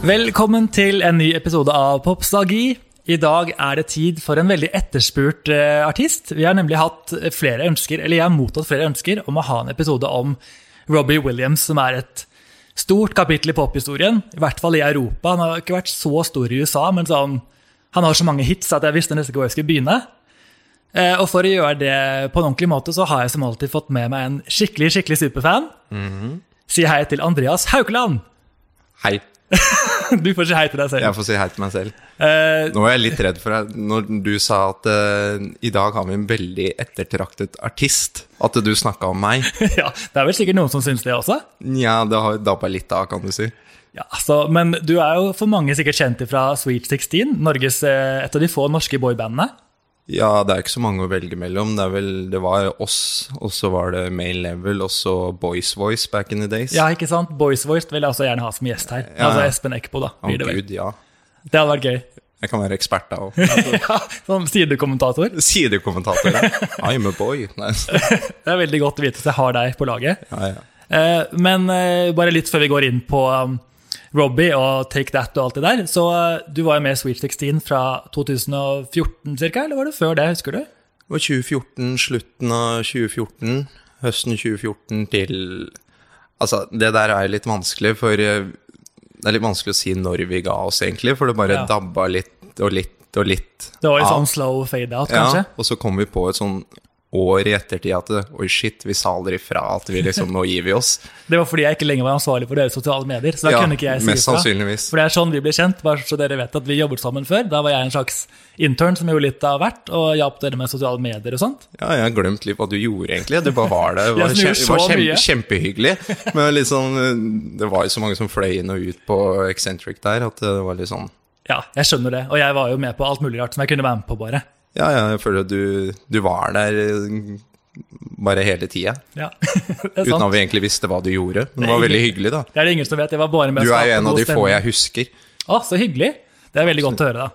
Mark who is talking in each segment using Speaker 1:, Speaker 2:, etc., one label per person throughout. Speaker 1: Velkommen til en ny episode av Popstalgi. I dag er det tid for en veldig etterspurt eh, artist. Vi har nemlig hatt flere ønsker, eller jeg har mottatt flere ønsker om å ha en episode om Robbie Williams, som er et stort kapittel i pophistorien. I hvert fall i Europa. Han har ikke vært så stor i USA, men sånn, han har så mange hits at jeg visste nesten ikke hvor jeg skulle begynne. Eh, Og for å gjøre det på en ordentlig måte, så har jeg som alltid fått med meg en skikkelig, skikkelig superfan. Si hei til Andreas Haukeland!
Speaker 2: Hei.
Speaker 1: Du får si hei til deg selv.
Speaker 2: Jeg får si hei til meg selv.
Speaker 1: Eh,
Speaker 2: Nå er jeg litt redd for deg når du sa at eh, i dag har vi en veldig ettertraktet artist. At du snakka om meg.
Speaker 1: ja, det er vel sikkert noen som syns det også.
Speaker 2: Nja, det har dabba litt av, kan du si.
Speaker 1: Ja, altså, men du er jo for mange sikkert kjent fra Sweet 16, Norges, eh, et av de få norske boybandene.
Speaker 2: Ja, det er ikke så mange å velge mellom. Det, er vel, det var oss, og så var det Male Level, og så Boys Voice back in the days.
Speaker 1: Ja, ikke sant? Boys Voice vil jeg også gjerne ha som gjest her.
Speaker 2: Ja.
Speaker 1: Altså Espen Eckbo, da.
Speaker 2: Å
Speaker 1: Blir det, vel.
Speaker 2: gud, ja.
Speaker 1: det hadde vært gøy.
Speaker 2: Jeg kan være ekspert da òg.
Speaker 1: ja, som sidekommentator.
Speaker 2: Sidekommentator. I'm a boy. Nei.
Speaker 1: Det er veldig godt å vite at jeg har deg på laget.
Speaker 2: Ja, ja.
Speaker 1: Eh, men eh, bare litt før vi går inn på um, Robbie og Take That og alt det der. Så eh, du var jo med i Sweet 16 fra 2014 ca., eller var det før det? Husker du?
Speaker 2: Det var 2014, slutten av 2014, høsten 2014 til Altså, det der er litt vanskelig, for eh, det er litt vanskelig å si når vi ga oss, egentlig, for det bare
Speaker 1: Ja.
Speaker 2: dabba litt og litt og litt.
Speaker 1: Det var litt
Speaker 2: av.
Speaker 1: sånn slow fade out,
Speaker 2: Ja,
Speaker 1: kanskje?
Speaker 2: og så kom vi på et sånn år i ettertid at det- oi, shit, vi sa aldri fra at vi liksom Nå gir vi oss.
Speaker 1: Det var fordi jeg ikke lenger var ansvarlig for deres sosiale medier. så da
Speaker 2: Ja,
Speaker 1: kunne ikke jeg si
Speaker 2: mest
Speaker 1: ifra.
Speaker 2: sannsynligvis.
Speaker 1: For det er sånn vi ble kjent, bare så dere vet at vi jobbet sammen før. Da var jeg en slags intern som gjorde litt av hvert, og hjalp dere med sosiale medier og sånt.
Speaker 2: Ja, jeg har glemt litt hva du gjorde, egentlig. Det bare var det. Det var,
Speaker 1: Jeg snur
Speaker 2: kjem, det var
Speaker 1: så
Speaker 2: kjem,
Speaker 1: mye.
Speaker 2: kjempehyggelig. Men liksom, eh, det var jo så mange som fløy inn og ut på Eccentric der, at det var litt sånn
Speaker 1: Ja, jeg skjønner det. Og jeg var jo med på alt mulig rart som jeg kunne være med på, bare.
Speaker 2: Ja, ja, jeg føler at du, du var der eh, bare hele tida.
Speaker 1: Ja, det er
Speaker 2: Uten at
Speaker 1: sant.
Speaker 2: vi egentlig visste hva du gjorde. Men det var veldig hyggelig, da.
Speaker 1: Det er det ingen som vet. Jeg var bare med
Speaker 2: Du
Speaker 1: å
Speaker 2: er
Speaker 1: skape
Speaker 2: jo en av
Speaker 1: god
Speaker 2: de få
Speaker 1: stemning.
Speaker 2: jeg husker.
Speaker 1: Å, så hyggelig. Det er veldig godt å høre, da.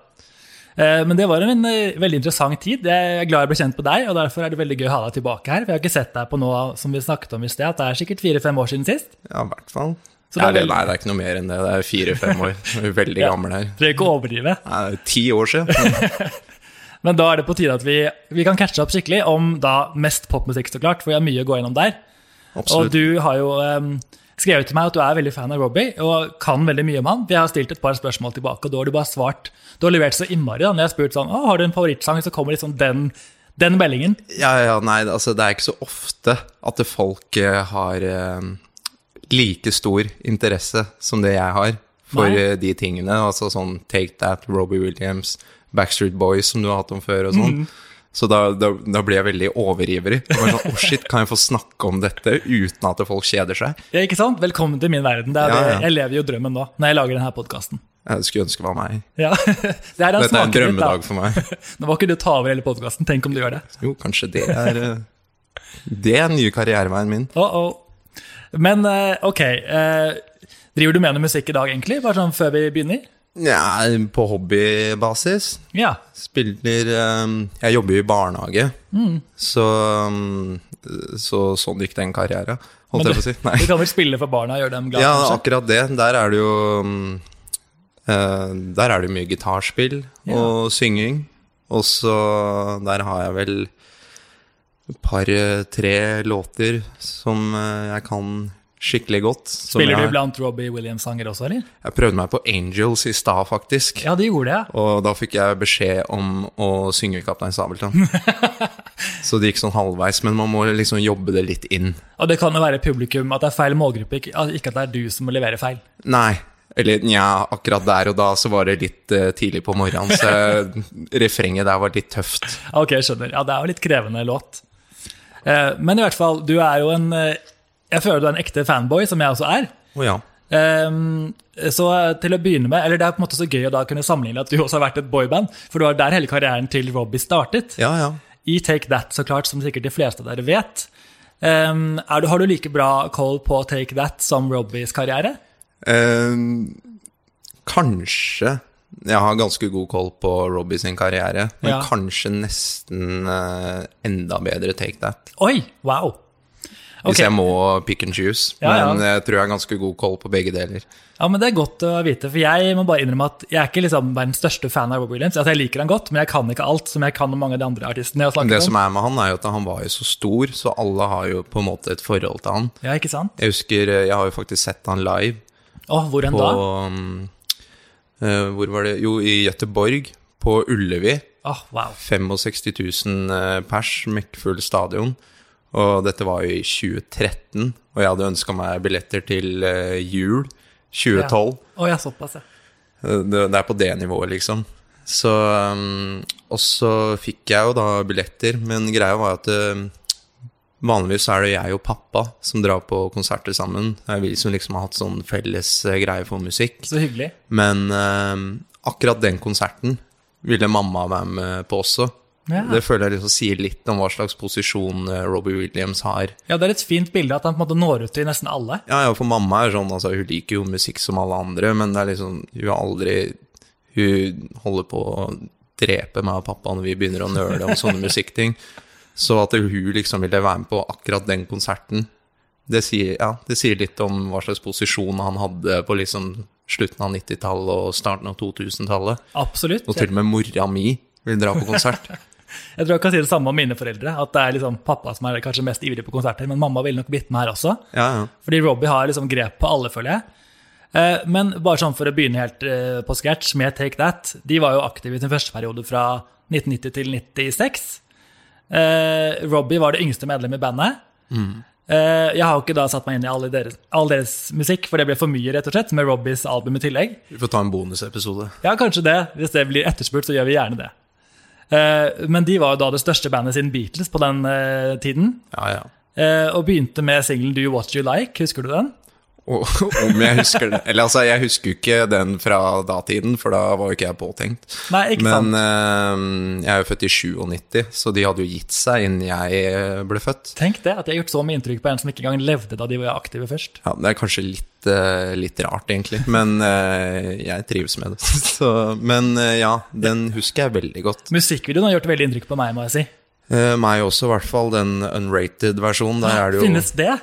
Speaker 1: Eh, Men det var en eh, veldig interessant tid. Jeg er glad jeg ble kjent med deg, og derfor er det veldig gøy å ha deg tilbake her. For jeg har ikke sett deg på noe som vi snakket om i sted, at det er sikkert fire-fem år siden sist.
Speaker 2: Ja, i hvert fall.
Speaker 1: Så det er
Speaker 2: Ja, det,
Speaker 1: veldig-
Speaker 2: nei, det er ikke noe mer enn det. Det er fire-fem år. Vi er veldig
Speaker 1: Ja.
Speaker 2: gammel her.
Speaker 1: Trenger ikke å overdrive.
Speaker 2: Nei, det er ti år siden.
Speaker 1: Men da er det på tide at vi, vi kan catche opp skikkelig om da mest popmusikk, så klart, for jeg har mye å gå gjennom der. Og
Speaker 2: Absolutt.
Speaker 1: du har jo em, skrevet til meg at du er veldig fan av Robbie og kan veldig mye om han. Jeg har stilt et par spørsmål tilbake, og da har du bare svart Du har levert så innmari. da, Når jeg har spurt sånn, å, har du en favorittsang, så kommer liksom den, den meldingen.
Speaker 2: Ja, ja, nei, altså, det er ikke så ofte at det folk eh, har eh, like stor interesse som det jeg har for
Speaker 1: Nei.
Speaker 2: eh, de tingene. Altså sånn Take That, Robbie Williams, Backstreet Boys, som du har hatt om før, og
Speaker 1: Mm.
Speaker 2: sånn. Så da, da, da blir jeg veldig overivrig. Jeg var sånn, Å, shit, kan jeg få snakke om dette uten at folk kjeder seg?
Speaker 1: Ja, ikke sant? Velkommen til min verden. Det er
Speaker 2: Ja,
Speaker 1: det.
Speaker 2: ja.
Speaker 1: Jeg lever jo drømmen nå, når jeg lager denne podkasten.
Speaker 2: Jeg skulle ønske det var meg.
Speaker 1: Ja. Det er en
Speaker 2: Dette er en
Speaker 1: smakebit, da.
Speaker 2: drømmedag for meg.
Speaker 1: Nå var ikke du ta over hele podkasten. Tenk om du gjør det.
Speaker 2: Jo, kanskje det er eh, Det er den nye karriereveien min.
Speaker 1: Oh, oh. Men eh, ok, eh, driver du med noe musikk i dag egentlig? Bare sånn før vi begynner?
Speaker 2: Ja, på hobbybasis.
Speaker 1: Ja,
Speaker 2: Spiller eh, Jeg jobber jo i barnehage, så, mm, så sånn gikk den karrieren. Holdt
Speaker 1: Men
Speaker 2: jeg på å si. Nei.
Speaker 1: du kan vel spille for barna og gjøre dem glad,
Speaker 2: Ja,
Speaker 1: kanskje?
Speaker 2: akkurat det. Der er det jo mm, eh, Der er det jo mye gitarspill og synging. Og så der har jeg vel et par-tre låter som eh, jeg kan skikkelig godt. som
Speaker 1: Spiller
Speaker 2: jeg
Speaker 1: du
Speaker 2: har-
Speaker 1: blant Robbie Williams-sanger også, eller?
Speaker 2: Jeg prøvde meg på Angels i stad, faktisk.
Speaker 1: Ja, det gjorde jeg.
Speaker 2: Og da fikk jeg beskjed om å synge Kaptein Sabeltann. så det gikk sånn halvveis, men man må liksom jobbe det litt inn.
Speaker 1: Og det kan jo være publikum at det er feil målgruppe, ikke at ikke at det er du som må levere feil.
Speaker 2: Nei. Eller nja, akkurat der og da så var det litt eh, tidlig på morgenen, så refrenget der var litt tøft.
Speaker 1: Ah, Ok, jeg skjønner. Ja, det er jo litt krevende låt. Eh, Men i hvert fall, du er jo en eh, Jeg føler du er en ekte fanboy, som jeg også er.
Speaker 2: Å ja.
Speaker 1: Ehm, så til å begynne med, eller Det er på en måte så gøy å da kunne sammenligne at du også har vært et boyband. For det var der hele karrieren til Robbie startet.
Speaker 2: Ja, ja.
Speaker 1: I Take That, så klart, som sikkert de fleste av dere vet. Ehm, er du, har du like bra call på Take That som Robbies karriere?
Speaker 2: Eh, kanskje Jeg har ganske god koll på Robbie sin karriere, men
Speaker 1: Ja.
Speaker 2: kanskje nesten eh, enda bedre Take That.
Speaker 1: Oi! Wow. Ok.
Speaker 2: Hvis jeg må pick and choose.
Speaker 1: Ja, ja.
Speaker 2: Men jeg tror jeg har ganske god koll på begge deler.
Speaker 1: Ja, men Det er godt å vite, for jeg må bare innrømme at jeg er ikke liksom verdens største fan av Robbie Williams. Altså, jeg liker han godt, men jeg kan ikke alt som jeg kan om mange av de andre artistene jeg har
Speaker 2: Men
Speaker 1: snakket
Speaker 2: det
Speaker 1: om.
Speaker 2: som er med han, er jo at han var jo så stor, så alle har jo på en måte et forhold til han.
Speaker 1: Ja, ikke sant?
Speaker 2: Jeg husker eh, Jeg har jo faktisk sett han live
Speaker 1: Åh, hvor enn
Speaker 2: på
Speaker 1: da?
Speaker 2: mm, eh, Hvor var det Jo, i Gøteborg. På Ullevi.
Speaker 1: Åh, wow.
Speaker 2: 65 000 eh, pers, mekkfull stadion. Og dette var jo i 2013, og jeg hadde ønska meg billetter til eh, jul 2012.
Speaker 1: Åh, ja, såpass, ja.
Speaker 2: Eh, Det, det er på det nivået, liksom. Så um, Og så fikk jeg jo da billetter, men greia var at eh, Vanligvis er det jeg og pappa som drar på konserter sammen. Det er vi som liksom har hatt sånn felles eh, greie for musikk.
Speaker 1: Så hyggelig.
Speaker 2: Men eh, akkurat den konserten ville mamma være med på også.
Speaker 1: Ja.
Speaker 2: Det føler jeg liksom sier litt om hva slags posisjon eh, Robbie Williams har.
Speaker 1: Ja, Det er et fint bilde at han på en måte når ut til nesten alle.
Speaker 2: Ja, ja, for mamma er sånn, altså, hun liker jo musikk som alle andre, men det er liksom, hun har aldri Hun holder på å drepe meg og pappa når vi begynner å nøle om sånne musikkting. Så at hun liksom ville være med på akkurat den konserten, det sier, ja, det sier litt om hva slags posisjon han hadde på liksom slutten av 90-tallet og starten av 2000-tallet.
Speaker 1: Absolutt.
Speaker 2: Og til og med mora mi vil dra på konsert.
Speaker 1: Jeg tror jeg kan si det samme om mine foreldre. At det er liksom pappa som er kanskje mest ivrig på konserter, men mamma ville nok bitt med her også.
Speaker 2: Ja, ja.
Speaker 1: Fordi Robbie har liksom grep på alle, føler jeg. Eh, Men bare sånn for å begynne helt eh, på scratch med Take That. De var jo aktive i sin første periode fra 1990 til 96. Eh, Robbie var det yngste medlem i bandet.
Speaker 2: Mm.
Speaker 1: Eh, jeg har jo ikke da satt meg inn i all deres, all deres musikk, for det ble for mye, rett og slett, med Robbies album i tillegg.
Speaker 2: Vi får ta en bonusepisode.
Speaker 1: Ja, kanskje det. Hvis det blir etterspurt, så gjør vi gjerne det. Eh, Men de var jo da det største bandet siden Beatles på den eh, tiden.
Speaker 2: Ja, ja.
Speaker 1: eh, Og begynte med singelen Do You What You Like, husker du den?
Speaker 2: Og, om jeg husker det. Eller altså, jeg husker jo ikke den fra datiden, for da var jo ikke jeg påtenkt.
Speaker 1: Nei, ikke sant?
Speaker 2: Men eh, jeg er jo født i 97, så de hadde jo gitt seg innen jeg eh, ble født.
Speaker 1: Tenk det, at jeg har gjort så mye inntrykk på en som ikke engang levde da de var aktive først.
Speaker 2: Ja, Det er kanskje litt, eh, litt rart, egentlig, men eh, jeg trives med det. Så, men eh, ja, den husker jeg veldig godt.
Speaker 1: Musikkvideoen har gjort veldig inntrykk på meg, må jeg si.
Speaker 2: Eh, meg også, i hvert fall. Den unrated-versjonen. Der er det jo
Speaker 1: Finnes det?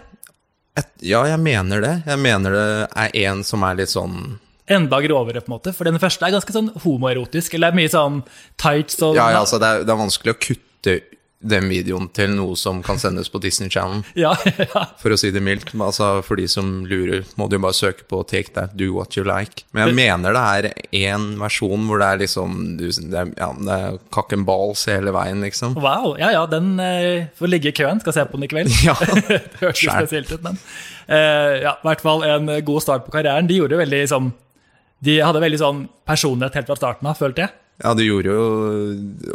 Speaker 2: Et, Ja, jeg mener det. Jeg mener det er en som er litt sånn
Speaker 1: Enda grovere, på en måte. For den første er ganske sånn homoerotisk, eller det er mye sånn tights og
Speaker 2: Ja, ja altså, det er, det er vanskelig å kutte den videoen til noe som kan sendes på Disney Channel,
Speaker 1: Ja, ja.
Speaker 2: for å si det mildt. Men Altså, for de som lurer, må du bare søke på Take That, Do What You Like. Men jeg mener det er én versjon hvor det er liksom du- Det er, ja, det er cock and balls hele veien, liksom.
Speaker 1: Wow. Ja, ja, den eh, får ligge i køen. Skal se på den i kveld.
Speaker 2: Ja.
Speaker 1: Det hørtes
Speaker 2: Skjær.
Speaker 1: spesielt ut, men eh, ja, i hvert fall en god start på karrieren. De gjorde veldig sånn De hadde veldig sånn personlighet helt fra starten av, følte jeg.
Speaker 2: ja, det gjorde jo,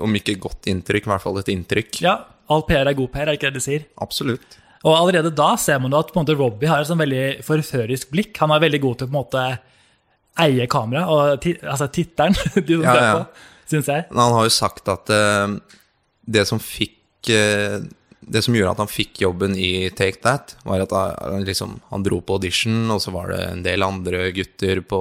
Speaker 2: om ikke godt inntrykk, i hvert fall et inntrykk.
Speaker 1: Ja, All PR er god PR, er det ikke det de sier?
Speaker 2: Absolutt.
Speaker 1: Og allerede da ser man jo at på en måte, Robbie har et sånn veldig forførisk blikk. Han er veldig god til å på en måte eie kamera, og ti, altså titteren, de som
Speaker 2: Ja,
Speaker 1: ser
Speaker 2: ja.
Speaker 1: på, syns jeg.
Speaker 2: Men han har jo sagt at eh, det som fikk eh, Det som gjorde at han fikk jobben i Take That, var at han, liksom, han dro på audition, og så var det en del andre gutter på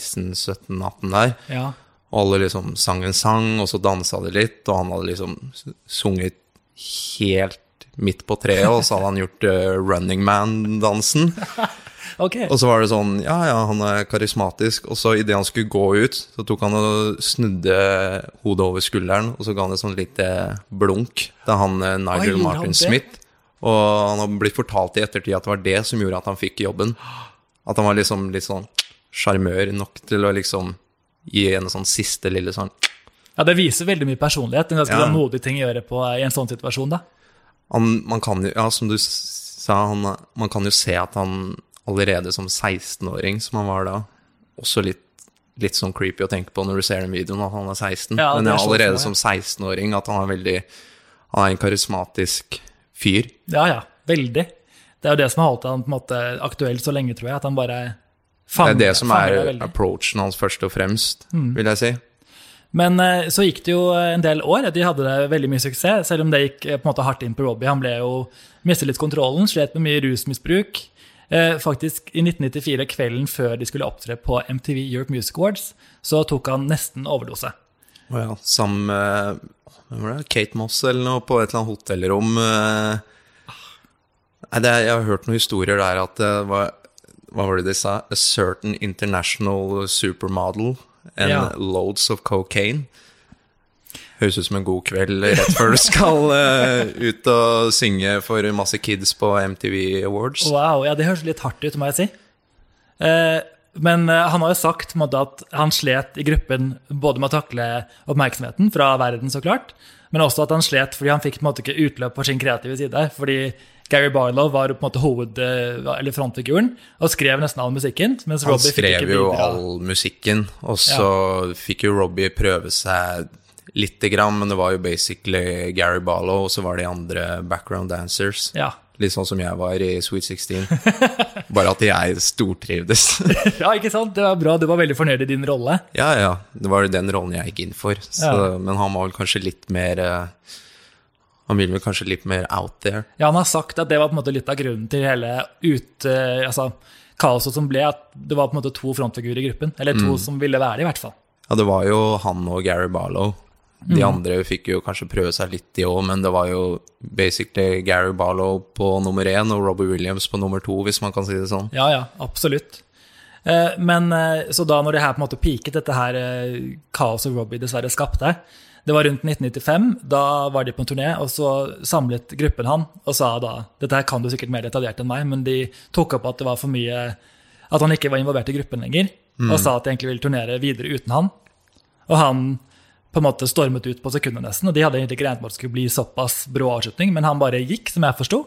Speaker 2: 16-17-18 der.
Speaker 1: Ja.
Speaker 2: Og alle liksom sang en sang, og så dansa de litt, og han hadde liksom sunget helt midt på treet, og så hadde han gjort eh, Running Man-dansen.
Speaker 1: Ok.
Speaker 2: Og så var det sånn Ja, ja, han er karismatisk. Og så idet han skulle gå ut, så tok han og snudde hodet over skulderen, og så ga han et sånn lite blunk til han eh,
Speaker 1: Oi,
Speaker 2: Nigel
Speaker 1: gjorde han
Speaker 2: Martin
Speaker 1: det?
Speaker 2: Smith. Og han har blitt fortalt i ettertid at det var det som gjorde at han fikk jobben. At han var liksom litt sånn sjarmør nok til å liksom gi en sånn siste lille sånn
Speaker 1: Ja, Det viser veldig mye personlighet. En ganske
Speaker 2: Ja.
Speaker 1: sånn modig ting å gjøre på, i en sånn situasjon. da.
Speaker 2: han, Man kan jo, ja, som du s- sa, han, man kan jo se at han allerede som 16-åring, som han var da, også litt Litt sånn creepy å tenke på når du ser den videoen, at han er 16.
Speaker 1: Ja,
Speaker 2: Men
Speaker 1: det
Speaker 2: det
Speaker 1: er
Speaker 2: er
Speaker 1: sånn
Speaker 2: allerede
Speaker 1: som
Speaker 2: som 16-åring at han er veldig Han er en karismatisk fyr.
Speaker 1: Ja, ja. Veldig. Det er jo det som har holdt han på en måte aktuell så lenge, tror jeg. At han bare fanger
Speaker 2: Det er det som er
Speaker 1: fanger deg veldig. Mm.
Speaker 2: approachen hans først og fremst, vil jeg si.
Speaker 1: Men eh, så gikk det jo en del år. De hadde det veldig mye suksess, selv om det gikk eh, på en måte hardt inn på Robbie. Han ble jo mistet litt kontrollen, slet med mye rusmisbruk. Eh, faktisk, i 1994, kvelden før de skulle opptre på MTV Europe Music Awards, så tok han nesten overdose.
Speaker 2: Å ja, sammen med hvem var det? Kate Moss eller noe på et eller annet hotellrom. eh. Nei, det, er- jeg har hørt noen historier der at det var Hva var det de sa? A certain international supermodel and
Speaker 1: Ja.
Speaker 2: loads of cocaine. Høres ut som en god kveld rett før du skal eh, ut og synge for masse kids på MTV Awards.
Speaker 1: Wow, ja, det høres litt hardt ut, må jeg si. Eh, men eh, han har jo sagt på en måte, at han slet i gruppen både med å takle oppmerksomheten fra verden, så klart, men også at han slet fordi han fikk på en måte ikke utløp for sin kreative side. Fordi Gary Barlow var på en måte hoved, eh, eller frontfiguren og skrev nesten all musikken. Mens
Speaker 2: Han
Speaker 1: Robbie fikk
Speaker 2: skrev
Speaker 1: ikke
Speaker 2: jo
Speaker 1: bidra.
Speaker 2: all musikken, og så fikk jo Robbie prøve seg lite grann, men det var jo basically Gary Barlow, og så var de andre background dancers.
Speaker 1: Ja.
Speaker 2: Litt sånn som jeg var i Sweet 16. Bare at jeg stortrivdes.
Speaker 1: ja, ikke sant? Det var bra. Du var veldig fornøyd i din rolle.
Speaker 2: ja, ja. Det var jo den rollen jeg gikk inn for. Så,
Speaker 1: Ja.
Speaker 2: Men han var vel kanskje litt mer eh, Han ville vel kanskje litt mer out there.
Speaker 1: Ja, han har sagt at det var på en måte litt av grunnen til hele ut, eh, altså, kaoset som ble, at det var på en måte to frontfigurer i gruppen, eller to som ville være det i hvert fall.
Speaker 2: Ja, det var jo han og Gary Barlow. De andre fikk jo kanskje prøve seg litt, de òg, men det var jo basically Gary Barlow på nummer én og Robbie Williams på nummer to, hvis man kan si det sånn.
Speaker 1: Ja, ja, absolutt. Eh, Men eh, så da når det her på en måte piket, dette her eh, kaoset Robbie dessverre skapte, det var rundt 1995, da var de på en turné, og så samlet gruppen han og sa da, dette her kan du sikkert mer detaljert enn meg, men de tok opp at det var for mye, at han ikke var involvert i gruppen lenger, og sa at de egentlig ville turnere videre uten han. Og han på en måte stormet ut på sekundet nesten, og de hadde egentlig ikke regnet med at det skulle bli såpass brå avslutning, men han bare gikk, som jeg forsto.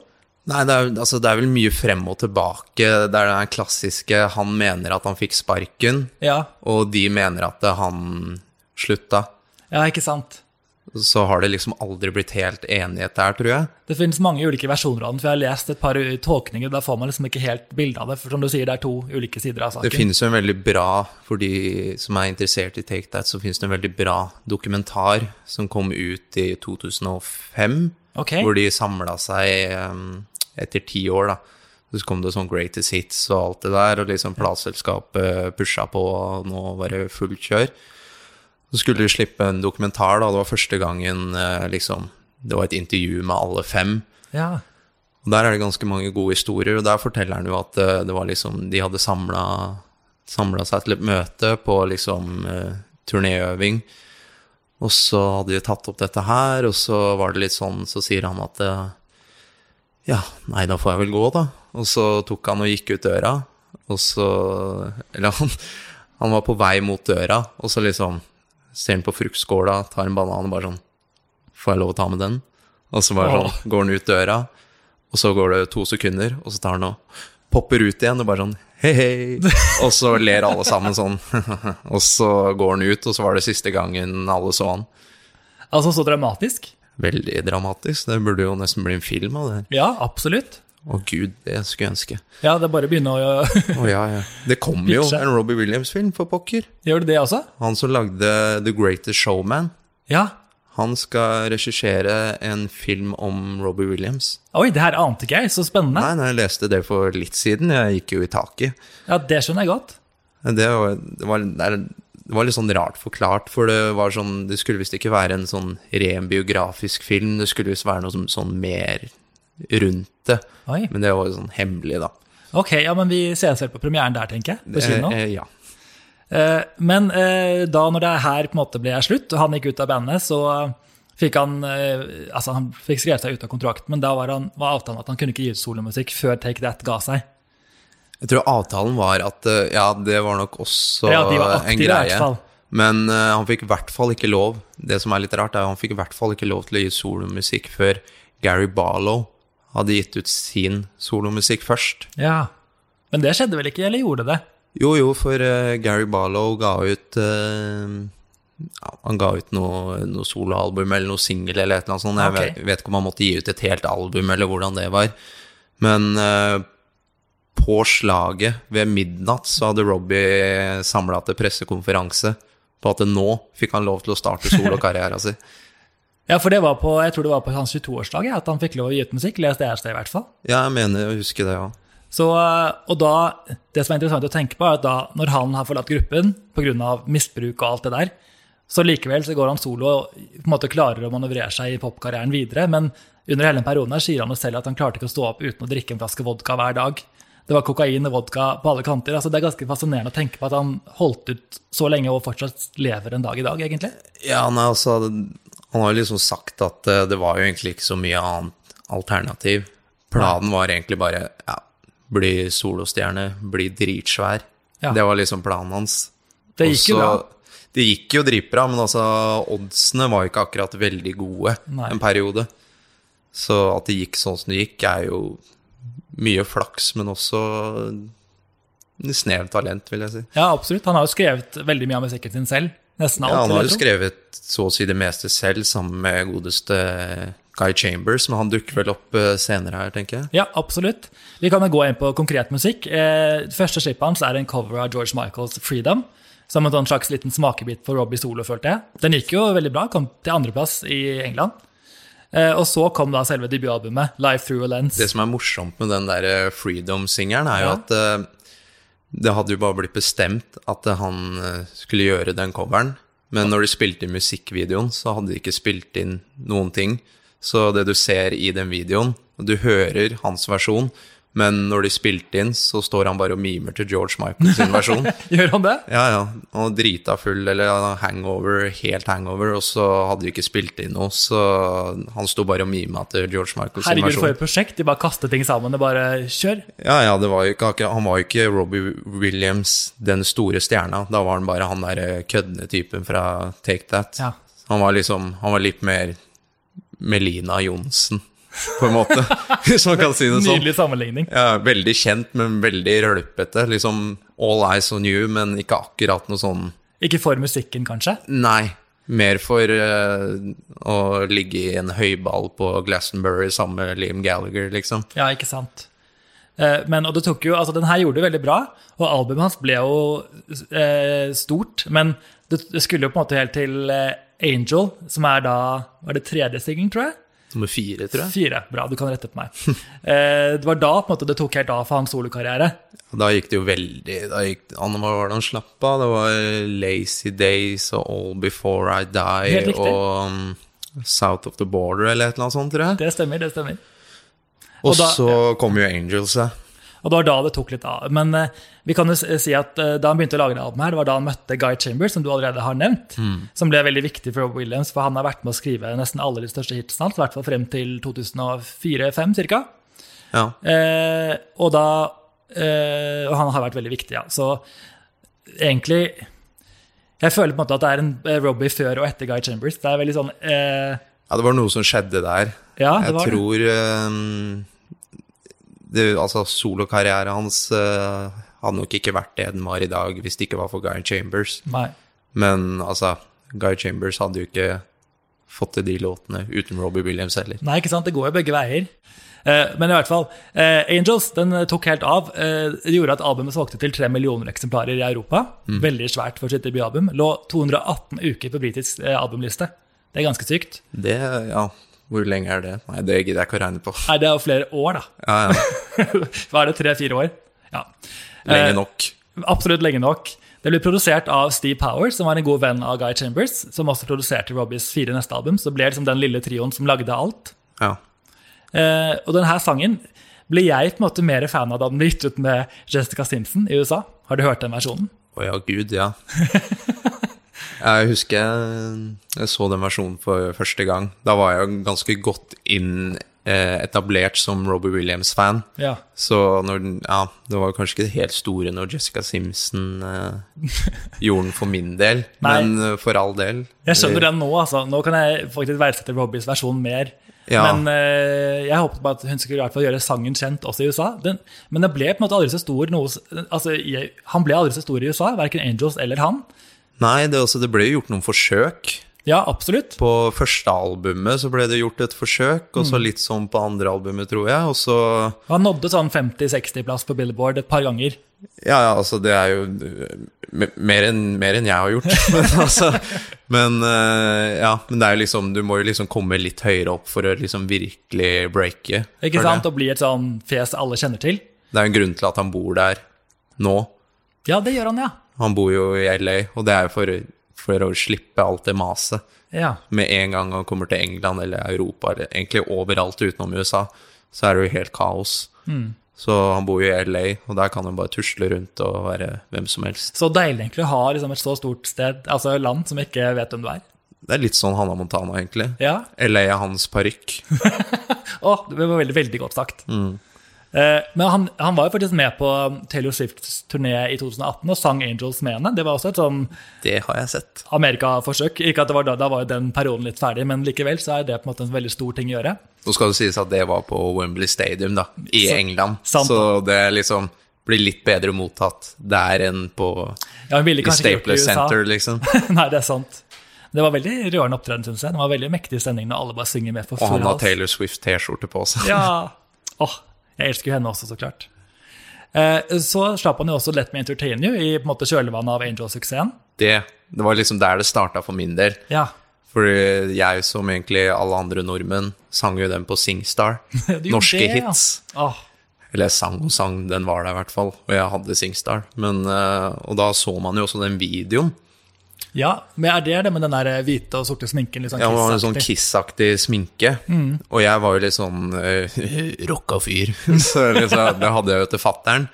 Speaker 2: Nei, det er, altså, det er vel mye frem og tilbake. Det er den klassiske 'han mener at han fikk sparken',
Speaker 1: Ja,
Speaker 2: og de mener at han slutta.
Speaker 1: ja, ikke sant?
Speaker 2: Så har det liksom aldri blitt helt enighet der, tror jeg.
Speaker 1: Det finnes mange ulike versjoner av den, for jeg har lest et par tolkninger. Da får man liksom ikke helt bilde av det, for som du sier, det er to ulike sider av
Speaker 2: Det
Speaker 1: saken.
Speaker 2: finnes jo en veldig bra, for de som er interessert i Take That, så finnes det en veldig bra dokumentar som kom ut i 2005,
Speaker 1: Ok,
Speaker 2: hvor de samla seg um, etter ti år, da. Så kom det sånn Greatest Hits og alt det der, og liksom plateselskapet pusha på, og nå var det fullt kjør. Så skulle de slippe en dokumentar, da. Det var første gangen eh, liksom Det var et intervju med alle fem.
Speaker 1: ja.
Speaker 2: Og Der er det ganske mange gode historier, og der forteller han jo at eh, det var liksom, de hadde samla, samla seg til et møte på liksom eh, turnéøving. Og så hadde de tatt opp dette her, og så var det litt sånn, så sier han at eh, ja, nei, da får jeg vel gå, da. Og så tok han og gikk ut døra, og så Eller han, han var på vei mot døra, og så liksom ser han på fruktskåla, tar en banan og bare sånn Får jeg lov å ta med den? Og så bare sånn, går han ut døra, og så går det to sekunder, og så tar han og popper ut igjen og bare sånn Hei, hei. Og så ler alle sammen sånn. og så går han ut, og så var det siste gangen alle så han.
Speaker 1: Altså så dramatisk.
Speaker 2: Veldig dramatisk. Det burde jo nesten bli en film av det her.
Speaker 1: Ja, absolutt.
Speaker 2: Å gud, det skulle jeg ønske.
Speaker 1: Ja, det er bare å begynne å
Speaker 2: Å ja, ja. Det kom jo
Speaker 1: Pitche.
Speaker 2: en Robbie Williams-film, for pokker.
Speaker 1: Gjør du det også?
Speaker 2: Han som lagde The Greatest Showman.
Speaker 1: Ja.
Speaker 2: Han skal regissere en film om Robbie Williams.
Speaker 1: Oi, det her ante ikke jeg. Så spennende.
Speaker 2: Nei, nei, jeg leste det for litt siden. Jeg gikk jo i taket.
Speaker 1: Ja, det skjønner jeg godt.
Speaker 2: Det var, det var, det er- det var litt sånn rart forklart, for det var sånn Det skulle visst ikke være en sånn ren biografisk film, det skulle visst være noe som, sånn mer rundt det.
Speaker 1: Oi.
Speaker 2: Men det var jo sånn hemmelig, da.
Speaker 1: Ok, ja, men vi ses vel på premieren der, tenker jeg. På kino.
Speaker 2: Eh, eh, ja.
Speaker 1: Eh, Men eh, da når det her på en måte ble slutt, og han gikk ut av bandet, så fikk han eh, altså han fikk skrevet seg ut av kontrakt, men da var, han, var avtalen at han kunne ikke gi ut solomusikk før Take That ga seg.
Speaker 2: Jeg tror avtalen var at eh, Ja, det var nok også
Speaker 1: Ja, de var
Speaker 2: en
Speaker 1: aktive i hvert
Speaker 2: greie.
Speaker 1: fall.
Speaker 2: Men eh, han fikk i hvert fall ikke lov. Det som er litt rart, er at han fikk i hvert fall ikke lov til å gi solomusikk før Gary Barlow hadde gitt ut sin solomusikk først.
Speaker 1: Ja. Men det skjedde vel ikke, eller gjorde det?
Speaker 2: Jo, jo, for eh, Gary Barlow ga ut eh, ja, Han ga ut noe, noe soloalbum eller noe singel eller et eller annet sånt. Jeg
Speaker 1: Ok.
Speaker 2: vet, vet ikke om han måtte gi ut et helt album eller hvordan det var. Men eh, på slaget ved midnatt så hadde Robbie samla til pressekonferanse på at nå fikk han lov til å starte solokarrieren sin.
Speaker 1: Ja, for det var på, jeg tror det var på hans 22-årsdag ja, at han fikk lov å gi ut musikk. Les det her stedet, i hvert fall.
Speaker 2: Ja, jeg mener å huske det, ja.
Speaker 1: Så, eh, og da, det som er interessant å tenke på, er at da, når han har forlatt gruppen pga. misbruk og alt det der, så likevel så går han solo og på en måte klarer å manøvrere seg i popkarrieren videre. Men under hele den perioden her sier han jo selv at han klarte ikke å stå opp uten å drikke en flaske vodka hver dag. Det var kokain og vodka på alle kanter. altså Det er ganske fascinerende å tenke på at han holdt ut så lenge og fortsatt lever en dag i dag, egentlig.
Speaker 2: Ja, nei, altså Han har jo liksom sagt at eh, det var jo egentlig ikke så mye annet alternativ. Planen var egentlig bare ja, bli solostjerne, bli dritsvær.
Speaker 1: Ja.
Speaker 2: Det var liksom planen hans.
Speaker 1: Det gikk jo
Speaker 2: Også-
Speaker 1: bra.
Speaker 2: Det gikk jo dritbra, men altså oddsene var jo ikke akkurat veldig gode
Speaker 1: Nei.
Speaker 2: en periode. Så at det gikk sånn som det gikk, er jo mye flaks, men også snevt talent, vil jeg si.
Speaker 1: Ja, absolutt. Han har jo skrevet veldig mye av musikken sin selv. Nesten alt.
Speaker 2: Ja, han
Speaker 1: vil
Speaker 2: har
Speaker 1: jeg
Speaker 2: jo
Speaker 1: tro.
Speaker 2: skrevet så å si det meste selv, sammen med godeste Guy Chambers, men han dukker vel opp eh, senere her, tenker jeg.
Speaker 1: Ja, absolutt. Vi kan jo gå inn på konkret musikk. Eh, det første slippet hans er en cover av George Michaels 'Freedom'. Som en sånn slags liten smakebit på Robbie Solo, følte jeg. Den gikk jo veldig bra, kom til andreplass i England. Eh, og så kom da selve debutalbumet, 'Life Through a Lens'.
Speaker 2: Det som er morsomt med den der eh, Freedom-singeren, er jo
Speaker 1: Ja.
Speaker 2: at eh, det hadde jo bare blitt bestemt at eh, han eh, skulle gjøre den coveren, men når de spilte inn musikkvideoen, så hadde de ikke spilt inn noen ting. Så det du ser i den videoen, og du hører hans versjon, men når de spilte inn, så står han bare og mimer til George Michael sin versjon.
Speaker 1: Gjør han det?
Speaker 2: Ja, ja. Og drita full, eller ja, hangover, helt hangover, og så hadde de ikke spilt inn noe, så han sto bare og mima til George Michaels
Speaker 1: Herregud, for
Speaker 2: sånn versjon.
Speaker 1: et prosjekt. De bare kaster ting sammen og bare kjør.
Speaker 2: Ja, ja, det var jo ikke, akkurat- han var jo ikke Robbie Williams, den store stjerna. Da var han bare han derre køddende typen fra Take That.
Speaker 1: Ja.
Speaker 2: Han var liksom Han var litt mer Melina Johnsen, på en måte, hvis man kan si det sånn.
Speaker 1: Nydelig sammenligning.
Speaker 2: Ja, veldig kjent, men veldig rølpete. Liksom all eyes on you, men ikke akkurat noe sånn
Speaker 1: Ikke for musikken, kanskje?
Speaker 2: Nei. Mer for eh, å ligge i en høyball på Glastonbury sammen med Liam Gallagher, liksom.
Speaker 1: Ja, ikke sant. Eh, Men, og det tok jo, altså Den her gjorde det veldig bra, og albumet hans ble jo eh, stort. Men det det skulle jo på en måte helt til eh, Angel, som er da var det tredje singelen, tror jeg.
Speaker 2: Nummer fire, tror jeg.
Speaker 1: Fire. Bra, du kan rette på meg. Eh, det var da på en måte det tok helt av for hans solokarriere.
Speaker 2: Da gikk det jo veldig da gikk, han, Hva var det han slapp av? Det var eh, Lazy Days og All Before I
Speaker 1: Helt
Speaker 2: Die
Speaker 1: riktig.
Speaker 2: og um, South of the Border eller et eller annet sånt, tror jeg.
Speaker 1: Det stemmer, det stemmer.
Speaker 2: Og
Speaker 1: og da-
Speaker 2: så kom jo Angels, ja.
Speaker 1: Og det var da det tok litt av. Men eh, vi kan jo s- si at eh, da han begynte å lage det albumet, her, det var da han møtte Guy Chambers, som du allerede har nevnt.
Speaker 2: Mm.
Speaker 1: Som ble veldig viktig for Rob Williams, for han har vært med å skrive nesten alle de største hitsene hans, i hvert fall frem til 2004-2005 cirka.
Speaker 2: ja.
Speaker 1: Eh, og da eh, Og han har vært veldig viktig, ja. Så egentlig Jeg føler på en måte at det er en eh, Robbie før og etter Guy Chambers. Det er veldig sånn eh,
Speaker 2: Ja, det var noe som skjedde der.
Speaker 1: Ja, det
Speaker 2: Jeg
Speaker 1: var det.
Speaker 2: tror ehm, det, altså, Solokarrieren hans eh, hadde nok ikke vært det den var i dag hvis det ikke var for Guy Chambers.
Speaker 1: Nei.
Speaker 2: Men altså, Guy Chambers hadde jo ikke fått til de låtene uten Robbie Williams heller.
Speaker 1: Nei, ikke sant? Det går jo begge veier. Eh, men i hvert fall, eh, Angels den eh, tok helt av. Eh, det gjorde at albumet solgte til tre millioner eksemplarer i Europa.
Speaker 2: Mm.
Speaker 1: Veldig svært for sitt debutalbum. Lå 218 uker på britisk eh, albumliste. Det er ganske sykt.
Speaker 2: Det, ja, hvor lenge er det? Nei, det gidder jeg ikke å regne på.
Speaker 1: Nei, det er jo flere år, da.
Speaker 2: Ja, ja,
Speaker 1: Hva er det, tre-fire år? Ja. eh,
Speaker 2: lenge nok.
Speaker 1: Absolutt lenge nok. Det ble produsert av Steve Powers, som var en god venn av Guy Chambers, som også produserte Robbies fire neste album. Så det ble liksom den lille trioen som lagde alt.
Speaker 2: Ja.
Speaker 1: Eh, og denne sangen ble jeg på en måte mer fan av da den ble gitt ut med Jessica Simpson i USA. Har du hørt den versjonen?
Speaker 2: Å ja, gud, ja. Jeg husker jeg- jeg så den versjonen for første gang. Da var jeg jo ganske godt inn eh, etablert som Robbie Williams-fan.
Speaker 1: Ja.
Speaker 2: Så når den, ja, det var kanskje ikke det helt store når Jessica Simpson eh, gjorde den for min del,
Speaker 1: Nei.
Speaker 2: men eh, for all del.
Speaker 1: Jeg skjønner den nå, altså. Nå kan jeg faktisk verdsette Robbies versjon mer.
Speaker 2: Ja.
Speaker 1: Men eh, jeg håpet på at hun skulle i hvert fall gjøre sangen kjent også i USA. Den, men den ble på en måte aldri så stor noe, s- altså, jeg, Han ble aldri så stor i USA, verken Angels eller han.
Speaker 2: Nei, det, er også, det ble jo gjort noen forsøk.
Speaker 1: Ja, absolutt.
Speaker 2: På første albumet så ble det gjort et forsøk, og
Speaker 1: Mm.
Speaker 2: så litt sånn på andre albumet, tror jeg. Og så
Speaker 1: Han nådde sånn 50-60-plass på Billboard et par ganger.
Speaker 2: Ja, ja, altså, det er jo eh, mer enn mer enn jeg har gjort. Men, altså, men eh, ja, men det er jo liksom Du må jo liksom komme litt høyere opp for å liksom virkelig breake.
Speaker 1: Ikke
Speaker 2: for
Speaker 1: sant?
Speaker 2: det.
Speaker 1: Og bli et sånn fjes alle kjenner til.
Speaker 2: Det er en grunn til at han bor der nå.
Speaker 1: Ja, det gjør han, ja.
Speaker 2: Han bor jo i LA, og det er jo for, for å slippe alt det maset.
Speaker 1: ja.
Speaker 2: Med en gang han kommer til England eller Europa, eller egentlig overalt utenom USA, så er det jo helt kaos.
Speaker 1: Mm.
Speaker 2: Så han bor jo i LA, og der kan han bare tusle rundt og være hvem som helst.
Speaker 1: Så deilig egentlig å ha liksom, et så stort sted, altså land som ikke vet hvem du er.
Speaker 2: Det er litt sånn Hannah Montana, egentlig.
Speaker 1: Ja,
Speaker 2: LA er hans parykk.
Speaker 1: Åh, det var veldig, veldig godt sagt.
Speaker 2: Mm.
Speaker 1: Eh, men han, han var jo faktisk med på Taylor Swifts turné i 2018 og sang Angels med henne. Det var også et sånn
Speaker 2: Det har jeg sett.
Speaker 1: Amerika-forsøk. Ikke at det var da, da var jo den perioden litt ferdig, men likevel så er det på en måte en veldig stor ting å gjøre.
Speaker 2: Nå skal det sies at det var på Wembley Stadium, da, i
Speaker 1: Så-
Speaker 2: England.
Speaker 1: sant.
Speaker 2: Så det liksom blir litt bedre mottatt der enn på
Speaker 1: Ja, hun ville
Speaker 2: i
Speaker 1: kanskje ikke gjort det
Speaker 2: Stapler
Speaker 1: i USA.
Speaker 2: Center, liksom.
Speaker 1: Nei, det er sant. Det var veldig rørende opptreden, syns jeg. Det var veldig mektig stemning når alle bare synger med for
Speaker 2: Og
Speaker 1: full
Speaker 2: han har
Speaker 1: hals.
Speaker 2: Taylor Swift-T-skjorte på seg.
Speaker 1: Ja. Åh, jeg elsker jo henne også, så klart. Eh, så slapp han jo også Let Me Entertain You i på en måte kjølvannet av Angel-suksessen.
Speaker 2: Det, det var liksom der det starta for min del.
Speaker 1: Ja,
Speaker 2: For jeg, som egentlig alle andre nordmenn, sang jo den på Singstar.
Speaker 1: Du gjorde
Speaker 2: Norske
Speaker 1: det, ja.
Speaker 2: hits.
Speaker 1: Åh,
Speaker 2: Eller jeg sang og sang, den var der i hvert fall. Og jeg hadde Singstar. Men, eh, og da så man jo også den videoen.
Speaker 1: ja, men er det det med den der eh, hvite og sorte sminken? Litt sånn
Speaker 2: Ja, det var en sånn
Speaker 1: Kiss-aktig? Mm.
Speaker 2: Kiss-aktig sminke. Og jeg var jo litt sånn uh, rocka fyr. så liksom, det hadde jeg jo til fattern.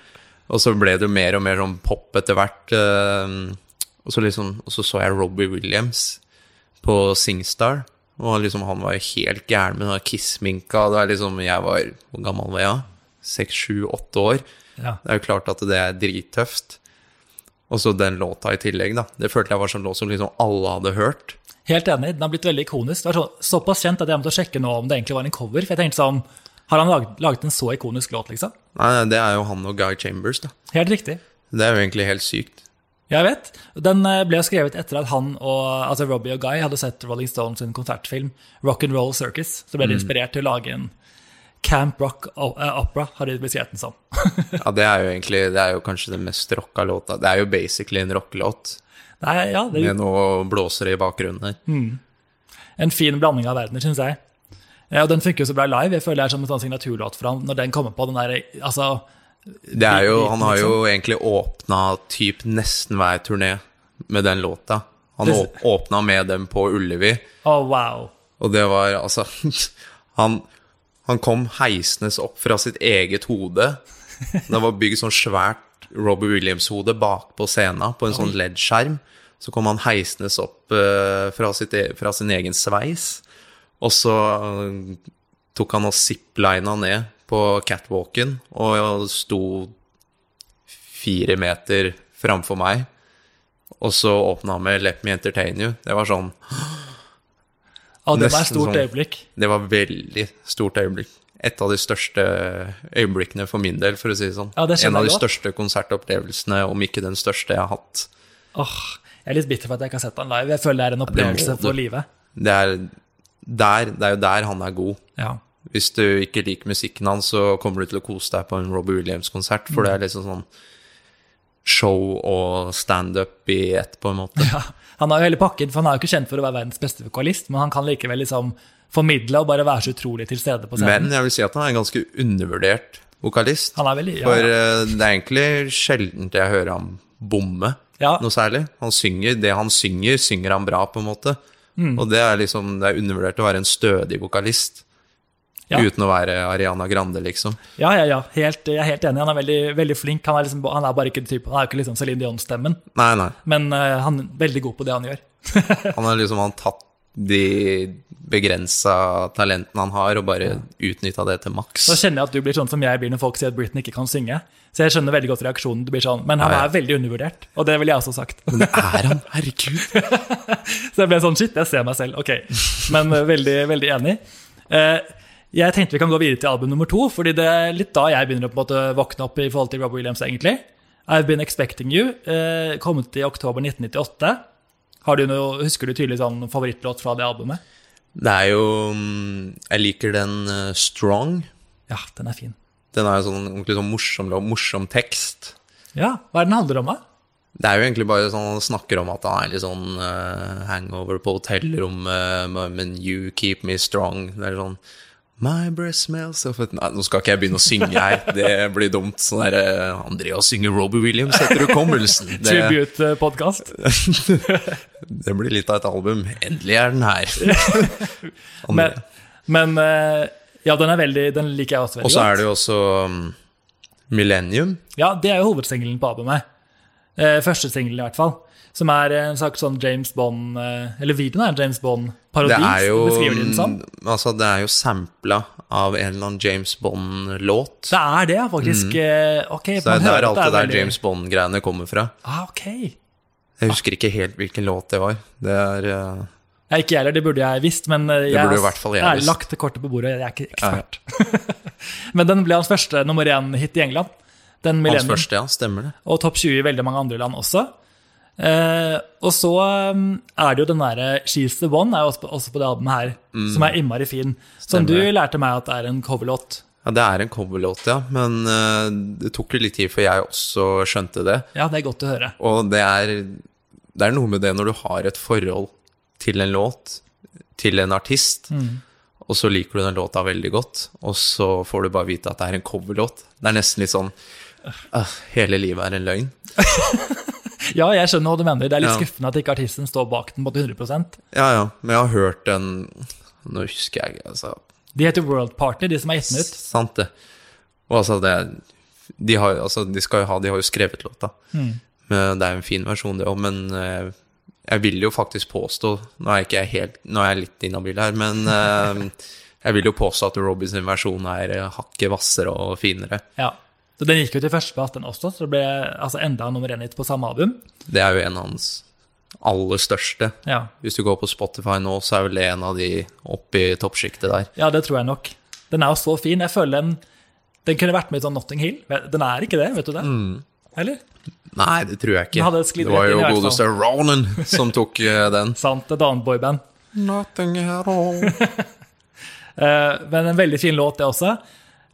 Speaker 2: Og så ble det jo mer og mer sånn pop etter hvert. eh, og, så liksom, og så så jeg Robbie Williams på Singstar. Og han liksom, han var jo helt gæren med den Kiss-sminka. Det er liksom, jeg var Hvor gammel var jeg? Seks, sju, åtte år.
Speaker 1: Ja.
Speaker 2: Det er jo klart at det er drittøft. Og så den låta i tillegg, da. Det følte jeg var sånn låt som liksom alle hadde hørt.
Speaker 1: Helt enig, den har blitt veldig ikonisk. Det var så, såpass kjent at jeg måtte sjekke nå om det egentlig var en cover. For jeg tenkte sånn, har han laget, laget en så ikonisk låt, liksom?
Speaker 2: Nei, nei, det er jo han og Guy Chambers, da.
Speaker 1: Helt riktig.
Speaker 2: Det er jo egentlig helt sykt.
Speaker 1: Jeg vet. Den eh, ble jo skrevet etter at han og altså Robbie og Guy hadde sett Rolling Stones sin konsertfilm Rock and Roll Circus. Så
Speaker 2: Mm.
Speaker 1: ble de inspirert til å lage en Camp Rock o- eh, Opera, har de beskrevet den som.
Speaker 2: Ja, det er jo egentlig Det er jo kanskje den mest rocka låta. Det er jo basically en rockelåt
Speaker 1: Nei, ja, det er
Speaker 2: med noe blåsere i bakgrunnen her.
Speaker 1: en fin blanding av verdener, syns jeg. Eh, Og den funker jo så bra live. Jeg føler det er som en sånn signaturlåt for han når den kommer på. den der, altså,
Speaker 2: Det er jo Han har jo egentlig åpna typ nesten hver turné med den låta. Han
Speaker 1: Det-
Speaker 2: åp- åpna med den på Ullevi,
Speaker 1: Oh, wow.
Speaker 2: og det var altså Han, han kom heisendes opp fra sitt eget hode. Det var bygd sånn svært Robbie Williams-hode bakpå scenen på en sånn LED-skjerm. Så kom han heisendes opp eh, fra, sitt, e- fra sin egen sveis. Og så eh, tok han og ziplina ned på catwalken og sto fire meter framfor meg. Og så åpna han med 'Let me entertain you'. Det var sånn
Speaker 1: Å, det var et
Speaker 2: Nesten
Speaker 1: stort
Speaker 2: sånn.
Speaker 1: øyeblikk.
Speaker 2: det var veldig stort øyeblikk. Et av de største øyeblikkene for min del, for å si det sånn.
Speaker 1: Ja, det skjønner
Speaker 2: en av de
Speaker 1: jeg godt.
Speaker 2: største konsertopplevelsene, om ikke den største jeg har hatt.
Speaker 1: Åh, jeg er litt bitter for at jeg ikke har sett han live. Jeg føler det er en opplevelse
Speaker 2: du.
Speaker 1: for livet.
Speaker 2: Det er, der, det er jo der han er god.
Speaker 1: Ja.
Speaker 2: Hvis du ikke liker musikken hans, så kommer du til å kose deg på en Robbie Williams-konsert, for det er liksom sånn show og standup i ett, på en måte.
Speaker 1: ja. Han har jo hele pakken, for han er jo ikke kjent for å være verdens beste vokalist, men han kan likevel liksom formidle og bare være så utrolig til stede på scenen.
Speaker 2: Men jeg vil si at han er en ganske undervurdert vokalist.
Speaker 1: han er veldig, ja,
Speaker 2: For
Speaker 1: ja.
Speaker 2: eh, det er egentlig sjeldent jeg hører ham bomme
Speaker 1: Ja.
Speaker 2: noe særlig. Han synger, Det han synger, synger han bra, på en måte. Og det er liksom, det er undervurdert å være en stødig vokalist.
Speaker 1: Ja.
Speaker 2: Uten å være Ariana Grande, liksom.
Speaker 1: ja, ja, ja. Helt, jeg er helt enig. Han er veldig, veldig flink. Han er, liksom, han er bare ikke typ, han er jo ikke liksom Céline Dion-stemmen,
Speaker 2: Nei, nei.
Speaker 1: men eh, han er veldig god på det han gjør.
Speaker 2: Han har liksom han tatt de begrensa talentene han har, og bare utnytta det til maks.
Speaker 1: Så kjenner jeg at du blir sånn som jeg blir når folk sier at Britney ikke kan synge. Så jeg skjønner veldig godt reaksjonen. Du blir sånn, men han
Speaker 2: Ja, ja.
Speaker 1: er veldig undervurdert, og det ville jeg også sagt.
Speaker 2: Men det er han! Herregud!
Speaker 1: Så jeg ble sånn, shit, jeg ser meg selv, ok. Men eh, veldig, veldig enig. Eh, jeg tenkte vi kan gå videre til album nummer to, fordi det er litt da jeg begynner å på en måte våkne opp i forhold til Robbie Williams, egentlig. I've Been Expecting You, eh, kommet i oktober 1998. Har du noe, husker du tydelig sånn favorittlåt fra det albumet?
Speaker 2: Det er jo mm, Jeg liker den eh, Strong.
Speaker 1: Ja, den er fin.
Speaker 2: Den er jo sånn ordentlig sånn morsom, morsom tekst.
Speaker 1: Ja, hva er den handler om, da?
Speaker 2: Det er jo egentlig bare sånn han snakker om at han er litt sånn eh, hangover på hotellrommet, men you keep me strong. Det er sånn My breath smells of it Nei, nå skal ikke jeg begynne å synge her. Det blir dumt. Sånn der, eh, Andreas synger Robbie Williams etter hukommelsen. Det,
Speaker 1: eh, Tribute-podkast.
Speaker 2: det blir litt av et album. Endelig er den her.
Speaker 1: Men, men eh, ja, den, er veldig, den liker jeg også veldig
Speaker 2: Og så er det jo også um, Millennium.
Speaker 1: Ja, det er jo hovedsingelen på albumet. Eh, første singelen, i hvert fall. Som er en slags sånn James Bond eh, Eller videoen er en James Bond-parodi.
Speaker 2: Det er jo,
Speaker 1: Beskriver de den sånn? som.
Speaker 2: mm, altså, det er jo sampla av en eller annen James Bond-låt.
Speaker 1: Det er det, ja, faktisk. eh, Ok,
Speaker 2: Mhm. Det
Speaker 1: man
Speaker 2: er
Speaker 1: hører at
Speaker 2: der alt det
Speaker 1: er
Speaker 2: der
Speaker 1: veldig-
Speaker 2: James Bond-greiene kommer fra.
Speaker 1: Ah, ok.
Speaker 2: Jeg husker ikke helt hvilken låt det var. Det er eh,
Speaker 1: Jeg, ikke jeg heller, det burde jeg visst, men eh, jeg,
Speaker 2: burde
Speaker 1: har-
Speaker 2: jo i hvert fall jeg
Speaker 1: har
Speaker 2: visst.
Speaker 1: lagt kortet på bordet, jeg er ikke ekspert. men den ble hans første nummer én-hit i England. Den
Speaker 2: hans
Speaker 1: Millennium,
Speaker 2: første, ja. Stemmer det.
Speaker 1: og topp 20 i veldig mange andre land også. Eh, og så um, er det jo den derre 'She's the One' er jo også på, også på det albumet her, som er innmari fin. Som
Speaker 2: Mm. Stemmer
Speaker 1: du
Speaker 2: det.
Speaker 1: lærte meg at er en coverlåt.
Speaker 2: Ja, Det er en coverlåt, ja. Men eh, det tok jo litt tid før jeg også skjønte det.
Speaker 1: Ja, det er godt å høre.
Speaker 2: Og det er, det er noe med det når du har et forhold til en låt, til en artist, og så liker du den låta veldig godt, og så får du bare vite at det er en coverlåt. Det er nesten litt sånn «Åh, Hele livet er en løgn.
Speaker 1: Ja, jeg skjønner hva du mener. Det er litt
Speaker 2: Ja.
Speaker 1: skuffende at ikke artisten står bak den på 100
Speaker 2: Ja ja, men jeg har hørt den Nå husker jeg ikke, altså.
Speaker 1: De heter World Party, de som er gitt den ut.
Speaker 2: Sant det. Og altså, det de har, altså, de skal jo ha De har jo skrevet låta.
Speaker 1: Mm.
Speaker 2: Men det er jo en fin versjon, det òg, men eh, jeg vil jo faktisk påstå Nå er jeg ikke jeg helt Nå er jeg litt inhabil her, men eh, jeg vil jo påstå at Robins versjon er eh, hakket hvassere og finere.
Speaker 1: Ja. Så Den gikk jo til førsteplass, den også, så det ble altså, enda nummer én hit på samme album.
Speaker 2: Det er jo en av hans aller største.
Speaker 1: Ja.
Speaker 2: Hvis du går på Spotify nå, så er vel det en av de oppe i toppsjiktet der.
Speaker 1: ja, det tror jeg nok. Den er jo så fin. Jeg føler den Den kunne vært med i sånn Notting Hill. Den er ikke det, vet du det?
Speaker 2: Mm.
Speaker 1: Eller?
Speaker 2: Nei, det tror jeg
Speaker 1: Den
Speaker 2: ikke.
Speaker 1: hadde sklidd
Speaker 2: Det var
Speaker 1: rett inn
Speaker 2: jo
Speaker 1: i hvert
Speaker 2: godeste Ronan som tok eh, den.
Speaker 1: Sant, et annet boyband.
Speaker 2: Nothing at all.
Speaker 1: Eh, Men en veldig fin låt, det også.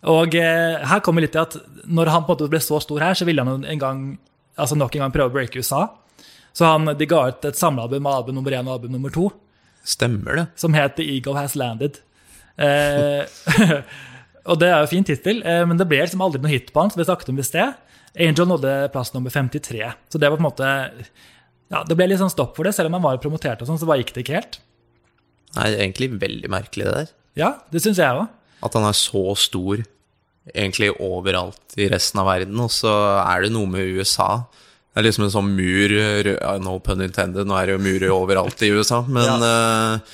Speaker 1: Og eh, her kommer litt til at når han på en måte ble så stor her, så ville han jo en gang, altså nok en gang prøve å breake USA. Så han, de ga ut et samlealbum av album nummer én og album nummer to,
Speaker 2: Stemmer det.
Speaker 1: som het The Eagle Has Landed. Eh, og det er jo fin tittel, eh, men det ble liksom aldri noe hit på han, som vi snakket om i sted. Angel nådde plass nummer 53, så det var på en måte ja, Det ble litt sånn stopp for det, selv om han var promotert og sånn, så bare gikk det ikke helt.
Speaker 2: Nei, det er egentlig veldig merkelig det der.
Speaker 1: Ja, det syns jeg òg.
Speaker 2: At han er så stor egentlig overalt i resten av verden, og så er det noe med USA. Det er liksom en sånn mur rø- ja, No pun intended, nå er det jo murer overalt i USA, men eh,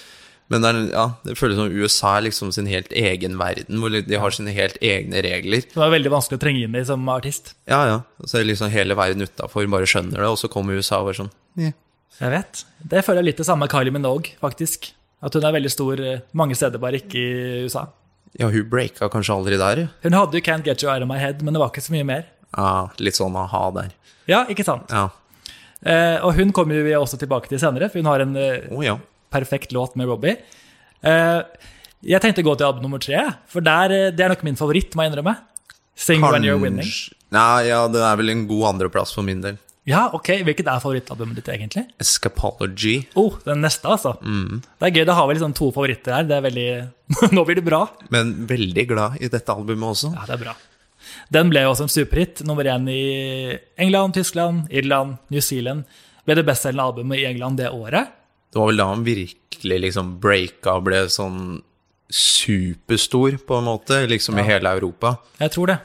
Speaker 2: men det, er, ja, det føles som USA er liksom sin helt egen verden, hvor de har sine helt egne regler.
Speaker 1: Det var veldig vanskelig å trenge inn i som artist.
Speaker 2: Ja, ja. Så er det liksom hele verden utafor bare skjønner det, og så kommer USA og bare sånn
Speaker 1: Jeg vet. Det føler jeg litt det samme med Kylie Minogue, faktisk. At hun er veldig stor eh, mange steder, bare ikke i USA.
Speaker 2: Ja, hun breaka kanskje aldri der, ja.
Speaker 1: Hun hadde jo Can't Get You Out of My Head, men det var ikke så mye mer.
Speaker 2: ja. Litt sånn aha der.
Speaker 1: Ja, ikke sant?
Speaker 2: Ja.
Speaker 1: Eh, og hun kommer vi også tilbake til senere, for hun har en eh,
Speaker 2: Å ja.
Speaker 1: perfekt låt med Robbie. Eh, jeg tenkte å gå til album nummer tre, for der, eh, det er nok min favoritt, må jeg innrømme. Sing When You're Winning.
Speaker 2: Kanskje- Nei, ja, det er vel en god andreplass for min del.
Speaker 1: Ja, ok. Hvilket er favorittalbumet ditt, egentlig?
Speaker 2: Escapology.
Speaker 1: Oh, den neste, altså. Det er gøy. Da har vi liksom to favoritter her. Det er veldig Nå blir det bra.
Speaker 2: Men veldig glad i dette albumet også.
Speaker 1: Ja, det er bra. Den ble jo også en superhit. Nummer én i England, Tyskland, Irland, New Zealand. Ble det bestselgende albumet i England det året.
Speaker 2: Det var vel da han virkelig liksom breaka og ble sånn superstor, på en måte, liksom i hele Europa.
Speaker 1: Jeg tror det.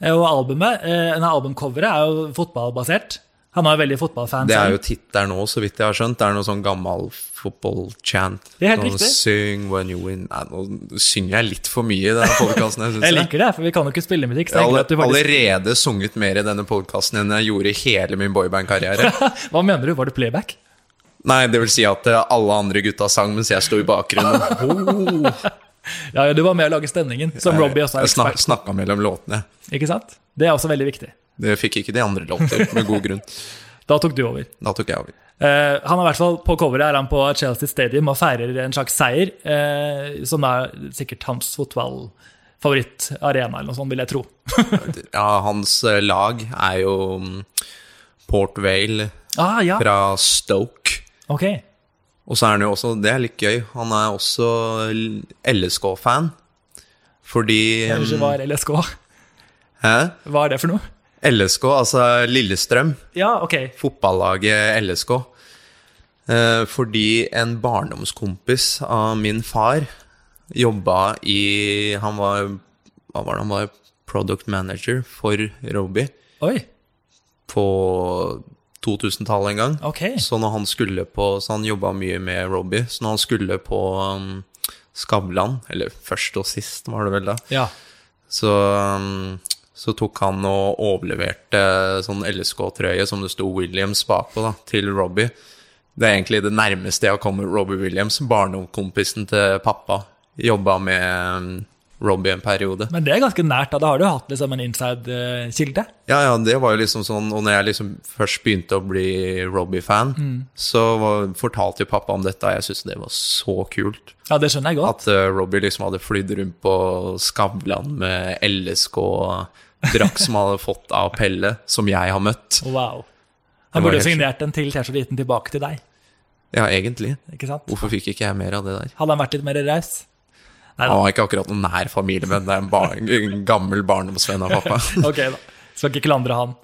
Speaker 1: Eh, Og albumet, eh, nei, albumcoveret er jo fotballbasert. Han var jo veldig fotballfan.
Speaker 2: Det er
Speaker 1: selv.
Speaker 2: jo tittelen nå, så vidt jeg har skjønt. Det er noe sånn gammel fotballchant.
Speaker 1: Det er helt
Speaker 2: Sånn,
Speaker 1: riktig.
Speaker 2: Sing when you win Nei, nå synger jeg litt for mye i denne podkasten, jeg syns
Speaker 1: Jeg liker det, for vi kan jo ikke spille musikk. Så jeg liker at du faktisk...
Speaker 2: Allerede sunget mer i denne podkasten enn jeg gjorde i hele min boyband-karriere.
Speaker 1: Hva mener du, var det playback?
Speaker 2: Nei, det vil si at eh, alle andre gutta sang mens jeg sto i bakgrunnen. Oh,
Speaker 1: Ja, ja, du var med å lage stemningen, som Robbie også er
Speaker 2: jeg snak
Speaker 1: ekspert.
Speaker 2: snakka mellom låtene.
Speaker 1: Ikke sant? Det er også veldig viktig.
Speaker 2: Det fikk ikke de andre låter, med god grunn.
Speaker 1: Da tok du over.
Speaker 2: Da tok jeg over.
Speaker 1: Eh, han er i hvert fall På coveret er han på Chelsea Stadium og feirer en slags seier, eh, som er sikkert hans fotballfavorittarena, eller noe sånt, vil jeg tro.
Speaker 2: Ja, hans eh, lag er jo mm, Port Vale
Speaker 1: Ah, ja,
Speaker 2: fra Stoke.
Speaker 1: ok.
Speaker 2: Og så er han jo også, det er litt gøy, han er også LSK-fan. Fordi
Speaker 1: Jeg husker ikke hva er LSK.
Speaker 2: Hæ?
Speaker 1: Hva er det for noe?
Speaker 2: LSK, altså Lillestrøm,
Speaker 1: Ja, ok.
Speaker 2: fotballaget LSK. Eh, fordi en barndomskompis av min far jobba i Han var Hva var det han var? Product manager for Roby
Speaker 1: Oi,
Speaker 2: på 2000-tallet en gang.
Speaker 1: ok.
Speaker 2: Så når han skulle på Så han jobba mye med Robbie. Så når han skulle på um, Skavlan, eller først og sist, var det vel da,
Speaker 1: Ja.
Speaker 2: så, um, så tok han og overleverte sånn LSK-trøye som det sto Williams bakpå, da, til Robbie. Det er egentlig det nærmeste jeg har kommet Robbie Williams, barndomskompisen til pappa. Jobba med um, Robbie en periode.
Speaker 1: Men det er ganske nært, da. Da har du hatt liksom en inside-kilde.
Speaker 2: Ja, ja, det var jo liksom sånn Og når jeg liksom først begynte å bli Robbie-fan, så var, fortalte jo pappa om dette, og jeg syntes det var så kult.
Speaker 1: Ja, det skjønner jeg godt.
Speaker 2: At eh, Robbie liksom hadde flydd rundt på Skavlan med LSK-drakt som han hadde fått av Pelle, som jeg har møtt.
Speaker 1: Wow.
Speaker 2: Det var
Speaker 1: Han burde jo
Speaker 2: helt
Speaker 1: signert en til T-skjorte gitt den tilbake til deg.
Speaker 2: Ja, egentlig.
Speaker 1: ikke sant?
Speaker 2: Hvorfor fikk ikke jeg mer av det der?
Speaker 1: Hadde han vært litt mer raus? Nei
Speaker 2: Han
Speaker 1: da.
Speaker 2: var ikke akkurat noen nær familievenn, det er en, bar en gammel barndomsvenn av pappa.
Speaker 1: Ok, da. Skal ikke klandre han.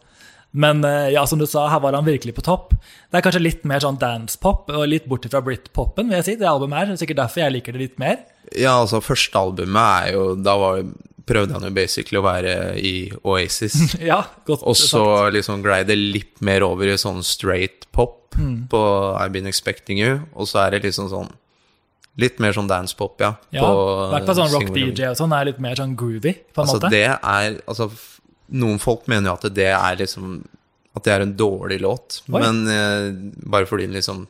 Speaker 1: Men eh, ja, som du sa, her var han virkelig på topp. Det er kanskje litt mer sånn dance-pop og litt bort fra britpop-en, vil jeg si. Det albumet her, det er sikkert derfor jeg liker det litt mer.
Speaker 2: Ja, altså, første albumet er jo Da var, prøvde han jo basically å være i Oasis.
Speaker 1: Ja, godt
Speaker 2: Og så
Speaker 1: sagt.
Speaker 2: liksom glei det litt mer over i sånn straight pop
Speaker 1: Mm.
Speaker 2: på I've Been Expecting You. Og så er det liksom sånn Litt mer sånn dance-pop, ja.
Speaker 1: Ja, I hvert fall sånn rock
Speaker 2: Sing With Me.
Speaker 1: DJ og sånn er litt mer sånn groovy, på en
Speaker 2: eh, Altså,
Speaker 1: måte.
Speaker 2: det er Altså, f- noen folk mener jo at det er liksom At det er en dårlig låt,
Speaker 1: Oi.
Speaker 2: men eh, bare fordi den liksom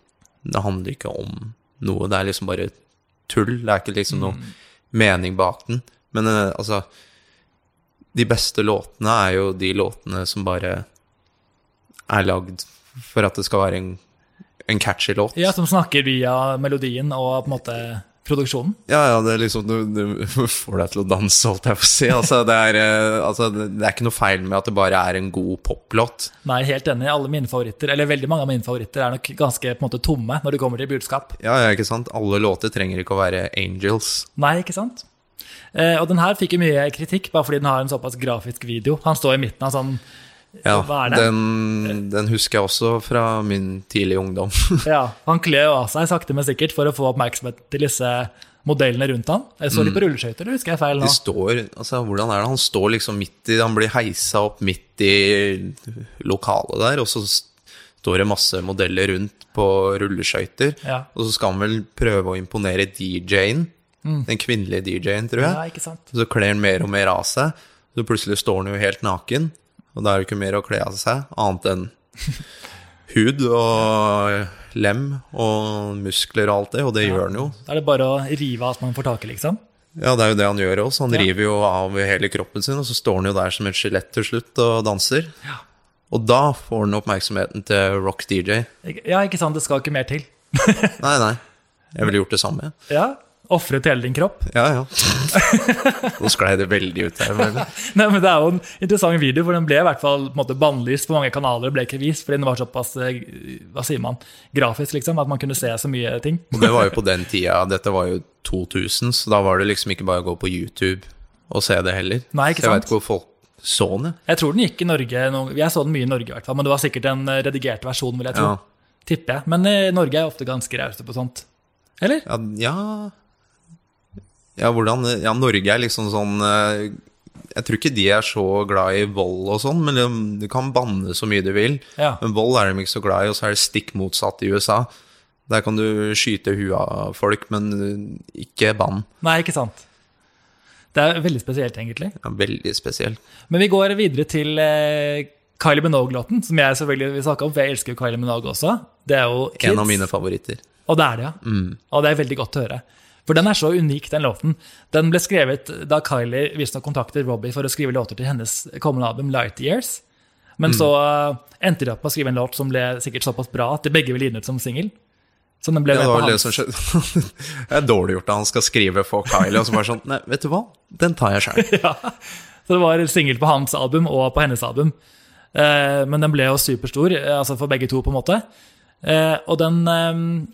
Speaker 2: Det handler ikke om noe, det er liksom bare tull. Det er ikke liksom
Speaker 1: Mm.
Speaker 2: noe mening bak den. Men eh, altså De beste låtene er jo de låtene som bare er lagd for at det skal være en, en catchy låt.
Speaker 1: Ja, som snakker via melodien og på en måte produksjonen.
Speaker 2: Ja, ja, det er liksom Du, du får deg til å danse, holdt jeg på å si. Altså, det, er, eh, altså, det det er ikke noe feil med at det bare er en god poplåt.
Speaker 1: Nei, helt enig. Alle mine favoritter, eller veldig mange av mine favoritter, er nok ganske på en måte tomme når det kommer til budskap.
Speaker 2: Ja, ja, ikke sant? Alle låter trenger ikke å være angels.
Speaker 1: Nei, ikke sant? Eh, og den her fikk jo mye kritikk, bare fordi den har en såpass grafisk video. Han står i midten av sånn
Speaker 2: Ja,
Speaker 1: Hva er det?
Speaker 2: den, den husker jeg også fra min tidlige ungdom.
Speaker 1: Ja, han kler jo av seg sakte, men sikkert for å få oppmerksomhet til disse modellene rundt han. Jeg så litt på rulleskøyter, eller husker jeg feil
Speaker 2: De
Speaker 1: nå?
Speaker 2: står, altså, hvordan er det? Han står liksom midt i Han blir heisa opp midt i lokalet der, og så s- står det masse modeller rundt på rulleskøyter.
Speaker 1: Ja.
Speaker 2: Og så skal han vel prøve å imponere DJ-en. Den kvinnelige DJ-en, tror jeg.
Speaker 1: Mm. Ja, ikke sant?
Speaker 2: Så kler han mer og mer av seg. Så plutselig står han jo helt naken, og da er det ikke mer å kle av seg annet enn hud og lem og muskler og alt det, og det gjør han jo.
Speaker 1: Da er det bare å rive alt man får tak i, liksom.
Speaker 2: Ja, det er jo det han gjør også. Han river jo av hele kroppen sin, og så står han jo der som et skjelett til slutt og danser. Og da får han oppmerksomheten til rock DJ.
Speaker 1: Ik- Ja, ikke sant, det skal ikke mer til.
Speaker 2: Nei, nei. Jeg ville gjort det samme.
Speaker 1: Ja, Ofret hele din kropp.
Speaker 2: Ja, ja. Nå sklei det veldig ut her. Men...
Speaker 1: Nei, men Det er jo en interessant video, for den ble i hvert fall på en måte bannlyst på mange kanaler. og ble ikke vist, fordi den var såpass eh, hva sier man, grafisk, liksom, at man kunne se så mye ting.
Speaker 2: Og det var jo på den tida, dette var jo 2000, så da var det liksom ikke bare å gå på YouTube og se det heller.
Speaker 1: Nei, ikke
Speaker 2: så jeg
Speaker 1: sant?
Speaker 2: vet ikke hvor folk så det.
Speaker 1: Jeg tror den gikk i Norge, noen- jeg så den mye i Norge, i hvert fall, men det var sikkert en eh, redigert versjon, vil jeg tro.
Speaker 2: Ja.
Speaker 1: Tipper jeg. Men eh, Norge er jo ofte ganske rause på sånt. Eller?
Speaker 2: Ja, ja, ja, hvordan Ja, Norge er liksom sånn eh, Jeg tror ikke de er så glad i vold og sånn, men de- du kan banne så mye du vil.
Speaker 1: Ja.
Speaker 2: Men vold er de ikke så glad i, og så er det stikk motsatt i USA. Der kan du skyte huet av folk, men ikke bann.
Speaker 1: Nei, ikke sant. Det er veldig spesielt, egentlig.
Speaker 2: Ja, veldig spesielt.
Speaker 1: Men vi går videre til eh, Kylie Minogue-låten, som jeg selvfølgelig vil snakke om, for jeg elsker jo Kylie Minogue også. Det er jo Kids.
Speaker 2: En av mine Mm. favoritter.
Speaker 1: Og det er det, ja. Og det er veldig godt å høre. For den er så unik, den låten. Den ble skrevet da Kylie visstnok kontaktet Robbie for å skrive låter til hennes kommende album Light Years.
Speaker 2: Mm.
Speaker 1: Men så eh, endte de opp med å skrive en låt som ble sikkert såpass bra at de begge ville gi den ut som singel. Så den ble
Speaker 2: Ja,
Speaker 1: med
Speaker 2: det
Speaker 1: på
Speaker 2: var vel
Speaker 1: hans.
Speaker 2: det som skjedde. det er dårlig gjort da han skal skrive for Kylie, og så bare sånn Nei, vet du hva, den tar jeg sjøl.
Speaker 1: Så det var singel på hans album og på hennes album. Eh, men den ble jo superstor, eh, altså for begge to, på en måte. Eh, og den eh,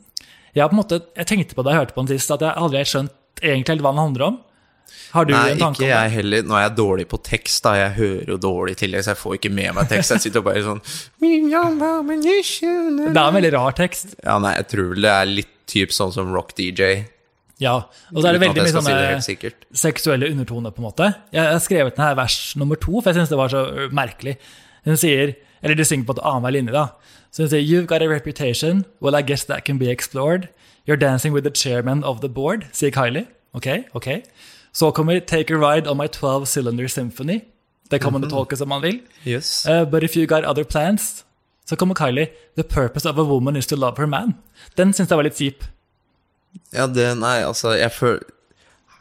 Speaker 1: Jeg har på en måte, jeg tenkte på det jeg hørte på den sist, at jeg aldri har skjønt egentlig helt hva den handler om. Har du
Speaker 2: Nei,
Speaker 1: en tanke om
Speaker 2: ikke
Speaker 1: det?
Speaker 2: jeg heller. Nå er jeg dårlig på tekst, da. Jeg hører jo dårlig i tillegg, så jeg får ikke med meg tekst. Jeg sitter bare sånn
Speaker 1: Det er en veldig rar tekst.
Speaker 2: Ja, nei, jeg tror vel det er litt typ sånn som rock DJ.
Speaker 1: Ja. Og så er det
Speaker 2: uten at
Speaker 1: veldig
Speaker 2: jeg
Speaker 1: mye sånn
Speaker 2: skal si det
Speaker 1: sånne
Speaker 2: helt sikkert.
Speaker 1: seksuelle undertoner, på en måte. Jeg jeg har skrevet den her vers nummer to, for jeg syns det var så ø, merkelig. Hun sier, eller de synger på et annenhver linje, da. Så hun sier You've got a reputation, well I guess that can be explored. You're dancing with the chairman of the board, sier Kylie. Ok, ok. Så kommer Take a ride on my 12-cylinder symphony. Det kan man jo tolke som man vil.
Speaker 2: Yes.
Speaker 1: Uh, but if you got other plans, så kommer Kylie. The purpose of a woman is to love her man. Den syns jeg var litt kjip.
Speaker 2: Ja, det Nei, altså, jeg føler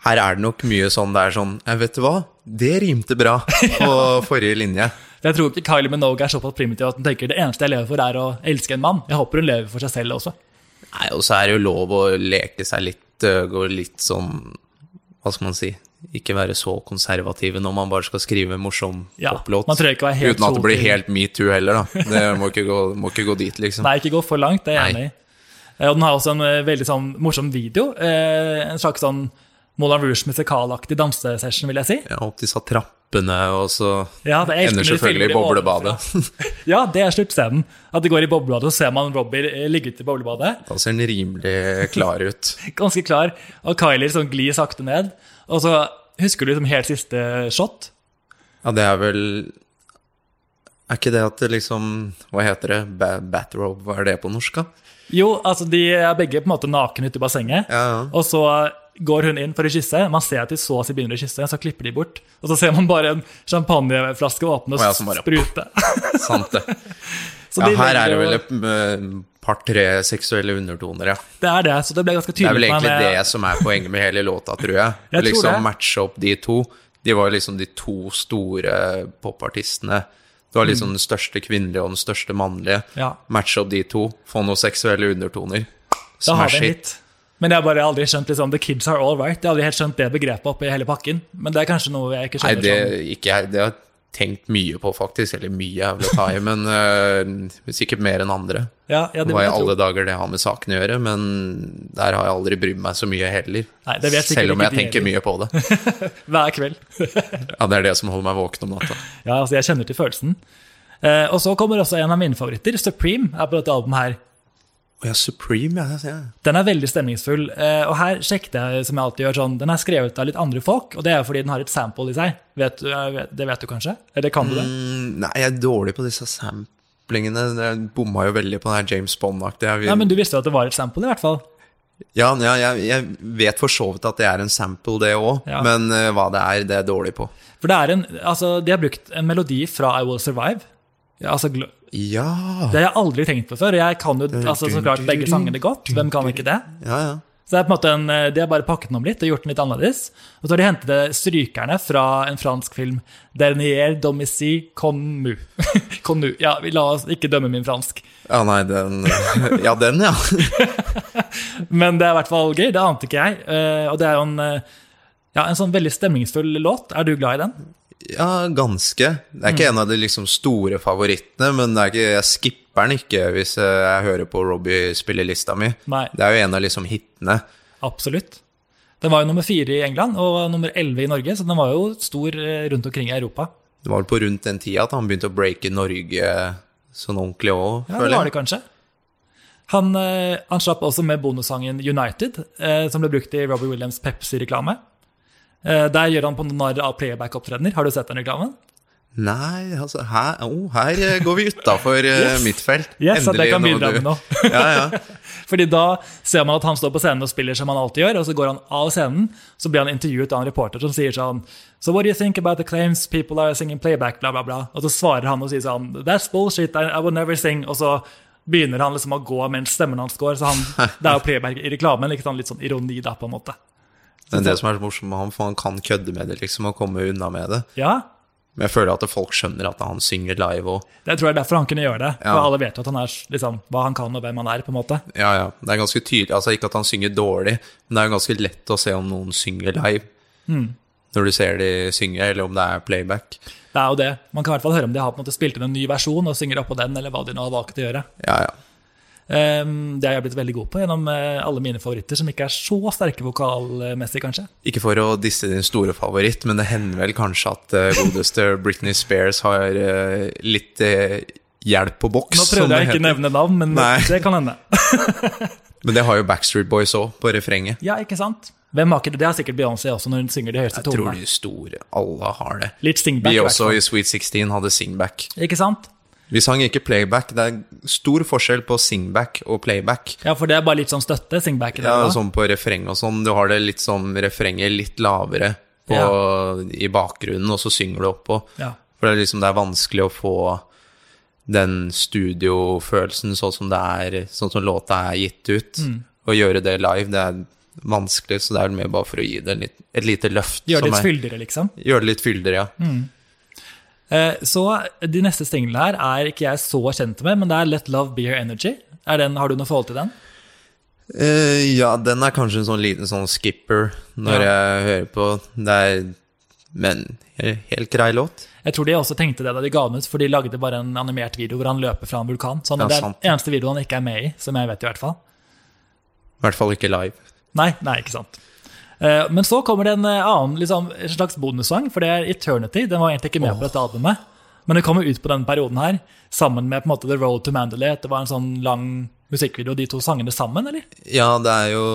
Speaker 2: Her er det nok mye sånn det er sånn Jeg vet du hva, det rimte bra på forrige linje.
Speaker 1: Jeg tror ikke Kylie Minogue er såpass primitiv at hun tenker det eneste jeg lever for, er å elske en mann. Jeg håper hun lever for seg selv også.
Speaker 2: Nei, og så er det jo lov å leke seg litt, øh, gå litt sånn Hva skal man si? Ikke være så konservative når man bare skal skrive en morsom
Speaker 1: Ja,
Speaker 2: poplåt.
Speaker 1: man trenger ikke være helt
Speaker 2: Uten at det blir
Speaker 1: solid.
Speaker 2: helt metoo heller, da. Det må ikke gå, må ikke gå dit, liksom.
Speaker 1: Nei, ikke gå for langt, det er jeg
Speaker 2: Nei.
Speaker 1: enig i. Eh, Og den har også en eh, veldig sånn morsom video. Eh, en slags sånn Moulin Rouge musikalaktig dansesession, vil jeg si.
Speaker 2: Ja, opp disse trappene, og så
Speaker 1: Ja, det er
Speaker 2: ender selvfølgelig i boblebadet.
Speaker 1: Ja, det er sluttscenen. At de går i boblebadet, og ser man Robbie eh, ligge ute i boblebadet.
Speaker 2: Da ser den rimelig klar ut.
Speaker 1: Ganske klar. Og Kylie liksom glir sakte ned. Og så husker du liksom helt siste shot.
Speaker 2: Ja, det er vel Er ikke det at det liksom Hva heter det? Ba bathrobe, hva er det på norsk, da?
Speaker 1: Jo, altså de er begge på en måte nakne ute i bassenget.
Speaker 2: Ja, ja.
Speaker 1: Og så går hun inn for å kysse. Man ser at de så å si begynner å kysse, så klipper de bort. Og så ser man bare en champagneflaske åpne og
Speaker 2: Å ja, som bare-
Speaker 1: sprute.
Speaker 2: Sant det.
Speaker 1: Så
Speaker 2: Ja,
Speaker 1: de
Speaker 2: her er det
Speaker 1: velger
Speaker 2: vel
Speaker 1: å-
Speaker 2: et eh, par-tre seksuelle undertoner, ja.
Speaker 1: Det er det, så det ble ganske
Speaker 2: Det
Speaker 1: tydelig.
Speaker 2: er
Speaker 1: for
Speaker 2: vel
Speaker 1: meg, men
Speaker 2: egentlig
Speaker 1: jeg-
Speaker 2: det som er poenget med hele låta, tror jeg.
Speaker 1: Jeg tror
Speaker 2: liksom
Speaker 1: det.
Speaker 2: matche opp de to. De var liksom de to store popartistene. Det var liksom den største kvinnelige og den største mannlige.
Speaker 1: Mm. Ja.
Speaker 2: Matche opp de to, få noen seksuelle undertoner.
Speaker 1: Da har vi
Speaker 2: Smash
Speaker 1: en
Speaker 2: it.
Speaker 1: hit. Men jeg har bare aldri skjønt liksom, The kids are all right. Jeg har aldri helt skjønt det begrepet oppi hele pakken. Men det er kanskje noe jeg ikke
Speaker 2: Nei,
Speaker 1: skjønner.
Speaker 2: det,
Speaker 1: sånn.
Speaker 2: ikke, jeg- det har jeg tenkt mye på, faktisk. Eller mye er vel å ta i, men øh, sikkert mer enn andre.
Speaker 1: ja, ja, det
Speaker 2: Hva i
Speaker 1: vil jeg tro.
Speaker 2: alle dager det har med saken å gjøre, men der har jeg aldri brydd meg så mye heller.
Speaker 1: Nei, det vet sikkert
Speaker 2: Selv om
Speaker 1: ikke
Speaker 2: jeg
Speaker 1: de
Speaker 2: tenker mye på det.
Speaker 1: Hver kveld.
Speaker 2: Ja, Det er det som holder meg våken om natta.
Speaker 1: Ja, altså, jeg kjenner til følelsen. Eh, og så kommer også en av mine favoritter, Supreme, er på dette albumet her.
Speaker 2: Å ja, Supreme, ja. ja.
Speaker 1: Den er veldig stemningsfull. eh, Og her sjekket jeg, som jeg alltid gjør, sånn Den er skrevet av litt andre folk, og det er jo fordi den har et sample i seg. Vet du, jeg vet- det vet du kanskje? Eller kan du det?
Speaker 2: Mm, Nei, jeg er dårlig på disse samplingene. Jeg bomma jo veldig på den her James Bond-aktige.
Speaker 1: Nei, men
Speaker 2: Jeg-
Speaker 1: du visste jo at det var et sample, i hvert fall.
Speaker 2: Ja, ja jeg, jeg vet for så vidt at det er en sample, det òg,
Speaker 1: Ja.
Speaker 2: men øh, hva det er, det er jeg dårlig på.
Speaker 1: For det er en Altså, de har brukt en melodi fra I Will Survive. Ja, altså, gl-
Speaker 2: Ja,
Speaker 1: det har jeg aldri tenkt på før. og Jeg kan jo altså, så klart begge sangene godt. Hvem kan ikke det?
Speaker 2: ja, ja.
Speaker 1: Så det er på en måte en, eh, De har bare pakket den om litt og gjort den litt annerledes. Og så har de hentet det strykerne fra en fransk film. Dernier domici connu. connu. Ja, vi la oss ikke dømme min fransk.
Speaker 2: Ja, nei, den Ja, den, ja.
Speaker 1: Men det er i hvert fall gøy. Det ante ikke jeg. Eh, og det er jo en, eh, ja, en sånn veldig stemningsfull låt. Er du glad i den?
Speaker 2: Ja, ganske. Det er ikke
Speaker 1: Mm.
Speaker 2: en av de liksom store favorittene, men det er ikke, jeg skipper den ikke hvis eh, jeg hører på Robbie spille lista mi.
Speaker 1: Nei.
Speaker 2: Det er jo en av liksom hitene.
Speaker 1: Absolutt. Den var jo nummer fire i England og nummer elleve i Norge, så den var jo stor eh, rundt omkring i Europa.
Speaker 2: Det var vel på rundt den tida at han begynte å breake Norge sånn ordentlig òg,
Speaker 1: Ja, det
Speaker 2: føler
Speaker 1: var det
Speaker 2: jeg.
Speaker 1: kanskje. Han, eh, han slapp også med bonussangen 'United', eh, som ble brukt i Robbie Williams' Pepsi-reklame. Eh, der gjør han på narr av playback-opptredener. Har du sett den reklamen?
Speaker 2: Nei, altså her, oh, her eh, går vi utafor yes. mitt felt.
Speaker 1: Yes, at jeg kan bidra med noe.
Speaker 2: ja, ja.
Speaker 1: Fordi da ser man at han står på scenen og spiller som han alltid gjør, og så går han av scenen. Så blir han intervjuet av en reporter som sier sånn So what do you think about the claims people are singing playback, bla, bla, bla. Og så svarer han og sier sånn That's bullshit, I, I would never sing. Og så begynner han liksom å gå mens stemmen hans går. Så han, det er jo playback i reklamen. Ikke sånn, litt sånn ironi, da, på en måte.
Speaker 2: Men det som er så morsomt med ham, for han kan kødde med det liksom og komme unna med det.
Speaker 1: Ja,
Speaker 2: Men jeg føler at folk skjønner at han synger live òg.
Speaker 1: det tror jeg er derfor han kunne gjøre det.
Speaker 2: Ja.
Speaker 1: For alle vet jo at han er liksom, hva han kan, og hvem han er, på en måte.
Speaker 2: Ja, ja. Det er ganske tydelig. Altså ikke at han synger dårlig, men det er jo ganske lett å se om noen synger live.
Speaker 1: Mm.
Speaker 2: Når du ser de synge, eller om det er playback.
Speaker 1: Det er jo det. Man kan i hvert fall høre om de har på en måte spilt inn en ny versjon og synger oppå den, eller hva de nå har valgt å gjøre.
Speaker 2: Ja, ja.
Speaker 1: Ehm, Det har jeg blitt veldig god på gjennom eh, alle mine favoritter, som ikke er så sterke vokalmessig, kanskje.
Speaker 2: Ikke for å disse din store favoritt, men det hender vel kanskje at eh, godeste Britney Spears har eh, litt eh, hjelp på boks.
Speaker 1: Nå
Speaker 2: som
Speaker 1: prøvde jeg
Speaker 2: det
Speaker 1: ikke å
Speaker 2: heter.
Speaker 1: nevne navn, men
Speaker 2: Nei.
Speaker 1: det kan hende.
Speaker 2: Men det har jo Backstreet Boys òg, på refrenget.
Speaker 1: Ja, ikke sant? Hvem har ikke det? Det har sikkert Beyoncé også, når hun synger de høyeste
Speaker 2: Jeg tror
Speaker 1: tonene.
Speaker 2: de store alle har det.
Speaker 1: Litt stingback,
Speaker 2: Vi
Speaker 1: i hvert
Speaker 2: også
Speaker 1: fall.
Speaker 2: i Sweet 16 hadde singback.
Speaker 1: Ikke sant?
Speaker 2: Vi sang ikke playback. Det er stor forskjell på singback og playback.
Speaker 1: Ja, for det er bare litt sånn støtte, singback. i det,
Speaker 2: Ja,
Speaker 1: da.
Speaker 2: sånn på refreng og sånn. Du har det litt som refrenget litt lavere på, i bakgrunnen, og så synger du oppå.
Speaker 1: Ja.
Speaker 2: For det er liksom det er vanskelig å få den studiofølelsen sånn som det er, sånn som låta er gitt ut.
Speaker 1: Mm.
Speaker 2: Å gjøre det live, det er vanskelig, så det er vel mer bare for å gi det en litt, et lite løft.
Speaker 1: Gjør det
Speaker 2: som
Speaker 1: litt Mm.
Speaker 2: er-
Speaker 1: fyldigere, liksom.
Speaker 2: Gjøre det litt fyldigere, ja.
Speaker 1: Eh, Så de neste singlene her er ikke jeg så kjent med, men det er Let Love Be Your Energy. Er den, har du noe forhold til den?
Speaker 2: Eh, ja, den er kanskje en sånn liten sånn skipper når jeg hører på. Det er Men he- helt grei låt.
Speaker 1: Jeg tror de også tenkte det da de ga den ut, for de lagde bare en animert video hvor han løper fra en vulkan. Sånn,
Speaker 2: Ja,
Speaker 1: det er
Speaker 2: sant.
Speaker 1: den eneste videoen han ikke er med i, som jeg vet i hvert fall.
Speaker 2: I hvert fall ikke live.
Speaker 1: Nei, nei, ikke sant. Eh, Men så kommer det en eh, annen liksom, en slags bonussang, for det er Eternity. Den var egentlig ikke med på dette albumet, men den kommer ut på denne perioden her, sammen med på en måte The Road to Mandalay. Det var en sånn lang musikkvideo, de to sangene sammen, eller?
Speaker 2: Ja, det er jo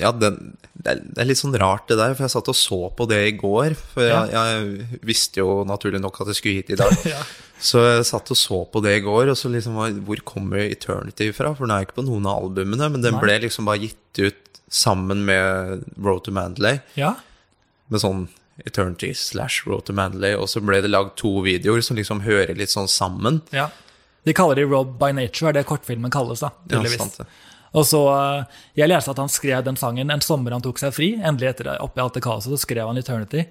Speaker 2: Ja, den det er, det er litt sånn rart det der, for jeg satt og så på det i går. For jeg, jeg visste jo naturlig nok at jeg skulle hit i dag.
Speaker 1: Ja.
Speaker 2: Så jeg satt og så på det i går, og så liksom var, Hvor kommer Eternity fra? For den er jo ikke på noen av albumene, men den
Speaker 1: Nei.
Speaker 2: ble liksom bare gitt ut sammen med Road to Mandalay.
Speaker 1: Ja,
Speaker 2: med sånn Eternity slash Road to Manley, og så ble det lagd to videoer som liksom hører litt sånn sammen.
Speaker 1: ja. De kaller de Rob by Nature, er det kortfilmen kalles, da.
Speaker 2: Ja,
Speaker 1: tydeligvis.
Speaker 2: sant det.
Speaker 1: Og så, eh, Jeg leste at han skrev den sangen en sommer han tok seg fri. Endelig etter det, oppi alt det kaoset, så skrev han 'Eternity'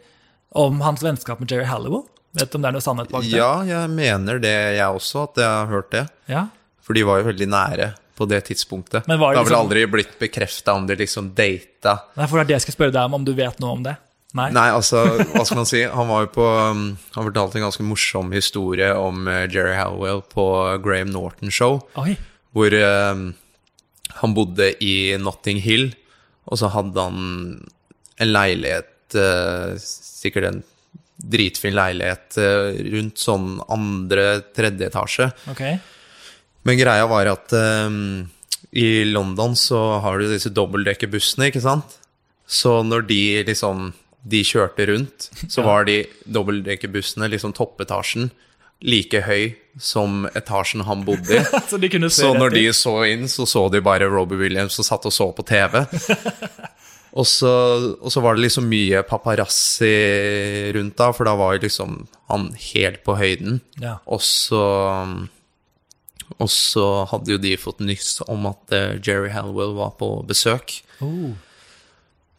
Speaker 1: om hans vennskap med Jerry Halliwell. Vet du om det er noe sannhet bak det?
Speaker 2: Ja, jeg mener det, jeg også, at jeg har hørt det.
Speaker 1: Ja.
Speaker 2: For de var jo veldig nære på det tidspunktet.
Speaker 1: Men var det
Speaker 2: det har vel
Speaker 1: liksom-
Speaker 2: aldri blitt bekrefta om de liksom data.
Speaker 1: Nei, for det er det jeg skal spørre deg om, om du vet noe om det? Nei?
Speaker 2: Nei, altså, hva skal man si? Han var jo på um, Han fortalte en ganske morsom historie om eh, Jerry Howell på Graham Norton-show.
Speaker 1: Oi.
Speaker 2: hvor eh, han bodde i Notting Hill, og så hadde han en leilighet, eh, sikkert en dritfin leilighet, eh, rundt sånn andre, tredje etasje.
Speaker 1: Ok.
Speaker 2: Men greia var at ehm, i London så har du disse dobbeltdekkerbussene, ikke sant? Så når de liksom de kjørte rundt, så var de dobbeltdekkerbussene, liksom toppetasjen, like høy som etasjen han bodde i.
Speaker 1: Så de kunne se
Speaker 2: Så
Speaker 1: rett
Speaker 2: når de
Speaker 1: ut.
Speaker 2: så inn, så så de bare Robbie Williams som satt og så på TV. Og så, og så var det liksom mye paparazzi rundt da, for da var jo liksom han helt på høyden.
Speaker 1: Ja.
Speaker 2: Og så Og så um, hadde jo de fått nyss om at eh, Jerry Halwell var på besøk.
Speaker 1: Oh.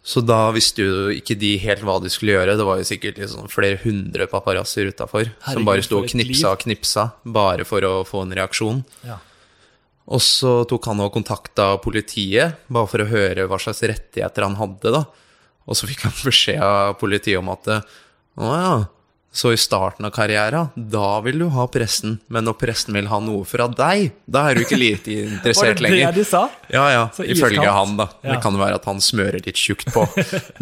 Speaker 2: Så da visste jo ikke de helt hva de skulle gjøre. Det var jo sikkert liksom flere hundre paparazzoer utafor som
Speaker 1: Herregud,
Speaker 2: bare sto og
Speaker 1: for et liv.
Speaker 2: knipsa og knipsa bare for å få en reaksjon.
Speaker 1: Ja.
Speaker 2: Og så tok han og kontakta politiet, bare for å høre hva slags rettigheter han hadde. da. Og så fikk han beskjed av politiet om at Å ja, så i starten av karriera, da vil du ha pressen. Men når pressen vil ha noe fra deg, da er du ikke like
Speaker 1: Var det
Speaker 2: interessert
Speaker 1: det
Speaker 2: lenger.
Speaker 1: de sa?
Speaker 2: Ja, ja.
Speaker 1: Så
Speaker 2: Ifølge
Speaker 1: iskaldt.
Speaker 2: han, da.
Speaker 1: Ja.
Speaker 2: Det kan jo være at han smører litt tjukt på.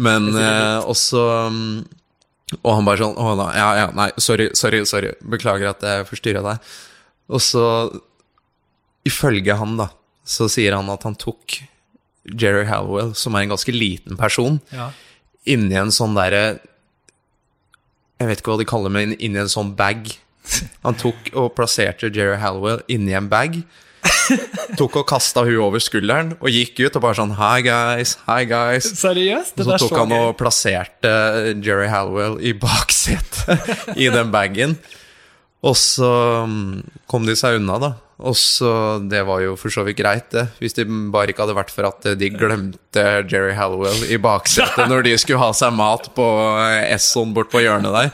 Speaker 2: Men eh, også mm, Og han bare sånn Å da, ja, ja, nei, sorry, sorry, sorry. Beklager at jeg forstyrra deg. Og så, ifølge han, da, så sier han at han tok Jerry Halwell, som er en ganske liten person,
Speaker 1: Ja.
Speaker 2: inni en sånn derre Jeg vet ikke hva de kaller det, men inni en sånn bag. Han tok og plasserte Jerry Hallowell inni en bag. Tok og kasta hun over skulderen og gikk ut og bare sånn Hi, guys. Hi, guys.
Speaker 1: Seriøst? Det
Speaker 2: Så
Speaker 1: der
Speaker 2: tok han
Speaker 1: gøy.
Speaker 2: og plasserte eh, Jerry Hallowell i baksetet i den bagen. Og så mm, kom de seg unna, da. Og så Det var jo for så vidt greit, det. Hvis det bare ikke hadde vært for at eh, de glemte Jerry Hallowell i baksetet når de skulle ha seg mat på Esson bort på hjørnet der.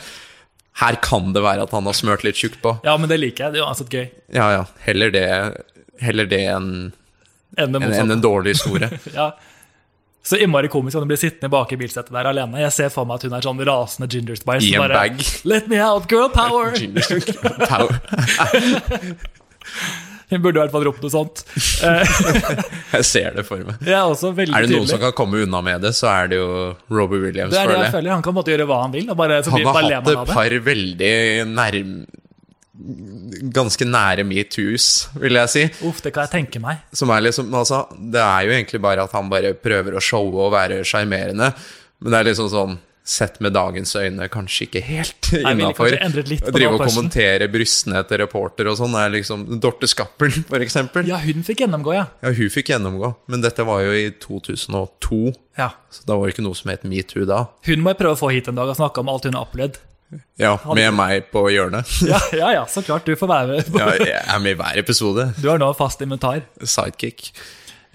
Speaker 2: Her kan det være at han har smørt litt tjukt på.
Speaker 1: Ja, men det liker jeg. Det er uansett gøy.
Speaker 2: Ja ja, heller det, heller det enn
Speaker 1: Enn sånn. det
Speaker 2: enn- enn
Speaker 1: motsatte.
Speaker 2: en dårlig historie.
Speaker 1: Ja. Så innmari komisk om hun blir sittende bak i bilsettet der alene. Jeg ser for meg at hun er sånn rasende Ginger Spice.
Speaker 2: I
Speaker 1: som bare,
Speaker 2: en bag.
Speaker 1: Let me out, girl power!
Speaker 2: Power.
Speaker 1: Hun burde i hvert fall ropt noe sånt. Eh,
Speaker 2: Jeg ser det for meg.
Speaker 1: Jeg er også veldig
Speaker 2: Er det noen
Speaker 1: tydelig.
Speaker 2: som kan komme unna med det, så er det jo Robbie Williams,
Speaker 1: Det er det
Speaker 2: føler
Speaker 1: jeg
Speaker 2: jeg.
Speaker 1: føler. Han kan på en måte gjøre hva han vil. Og bare, så
Speaker 2: Han
Speaker 1: blir-
Speaker 2: har
Speaker 1: bare ler
Speaker 2: hatt
Speaker 1: man av
Speaker 2: et
Speaker 1: det.
Speaker 2: par veldig nærm... Ganske nære metoos, vil jeg si.
Speaker 1: Uff, det kan jeg tenke meg.
Speaker 2: Som er liksom, altså, det er jo egentlig bare at han bare prøver å showe og være sjarmerende. Men det er liksom sånn Sett med dagens øyne, kanskje ikke helt
Speaker 1: ville
Speaker 2: innafor.
Speaker 1: kanskje endret litt på
Speaker 2: Drive og
Speaker 1: den personen.
Speaker 2: kommentere brystene til reporter og sånn. Det er liksom Dorte Skappel, for eksempel. Ja.
Speaker 1: Ja, hun fikk gjennomgå, ja.
Speaker 2: hun fikk gjennomgå. Men dette var jo i 2002,
Speaker 1: ja.
Speaker 2: så da var det ikke noe som het metoo da.
Speaker 1: Hun må jeg prøve å få hit en dag og snakke om alt hun har opplevd.
Speaker 2: Ja, med meg på hjørnet.
Speaker 1: Ja, ja, ja så klart. Du får være med.
Speaker 2: Ja, jeg er med i hver episode.
Speaker 1: Du har nå fast inventar.
Speaker 2: Sidekick.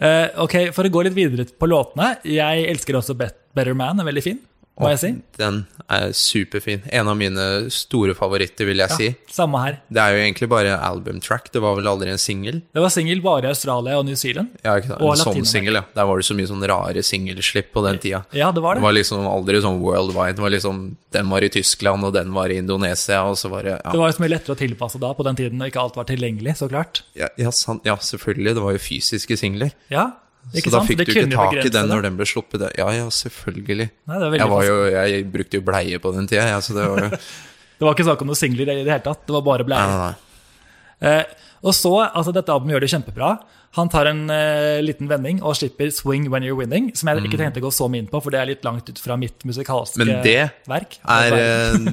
Speaker 1: Eh, ok, For å gå litt videre på låtene. Jeg elsker også Bet Better Man. er Veldig fin, må jeg si.
Speaker 2: Den er superfin. En av mine store favoritter, vil jeg si.
Speaker 1: Samme her.
Speaker 2: Det er jo egentlig bare album track, det var vel aldri en singel?
Speaker 1: Det var singel bare i Australia og New Zealand.
Speaker 2: Ja, ikke sant?
Speaker 1: Og
Speaker 2: en sånn
Speaker 1: Latinamerika.
Speaker 2: singel, ja. Der var det så mye sånn rare singelslipp på den tida.
Speaker 1: Ja, det var det.
Speaker 2: Det var liksom aldri sånn worldwide. Det var liksom, den var i Tyskland, og den var i Indonesia, og så var det
Speaker 1: Det
Speaker 2: Ja,
Speaker 1: var jo så mye lettere å tilpasse da, på den tiden når ikke alt var tilgjengelig, så klart.
Speaker 2: ja, ja, sant, ja selvfølgelig, det var jo fysiske singler.
Speaker 1: Ja,
Speaker 2: Så
Speaker 1: ikke
Speaker 2: da
Speaker 1: sant?
Speaker 2: fikk
Speaker 1: Det
Speaker 2: du ikke
Speaker 1: kunne jo
Speaker 2: tak i
Speaker 1: begrense
Speaker 2: den
Speaker 1: det.
Speaker 2: når den ble sluppet. Ja, ja, selvfølgelig.
Speaker 1: Nei, det var veldig
Speaker 2: Jeg, var jo, jeg brukte jo bleie på den tida, ja, så det var jo
Speaker 1: Det var ikke snakk om noen singler i det hele tatt. Det var bare
Speaker 2: Nei,
Speaker 1: blære.
Speaker 2: nei, nei.
Speaker 1: Eh, og så, altså Dette albumet gjør det kjempebra. Han tar en eh, liten vending og slipper 'Swing When You're Winning', som jeg ikke tenkte å gå så mye inn på, for det er litt langt ut fra mitt musikalske
Speaker 2: Mm. Men det
Speaker 1: verk.
Speaker 2: Er, eh,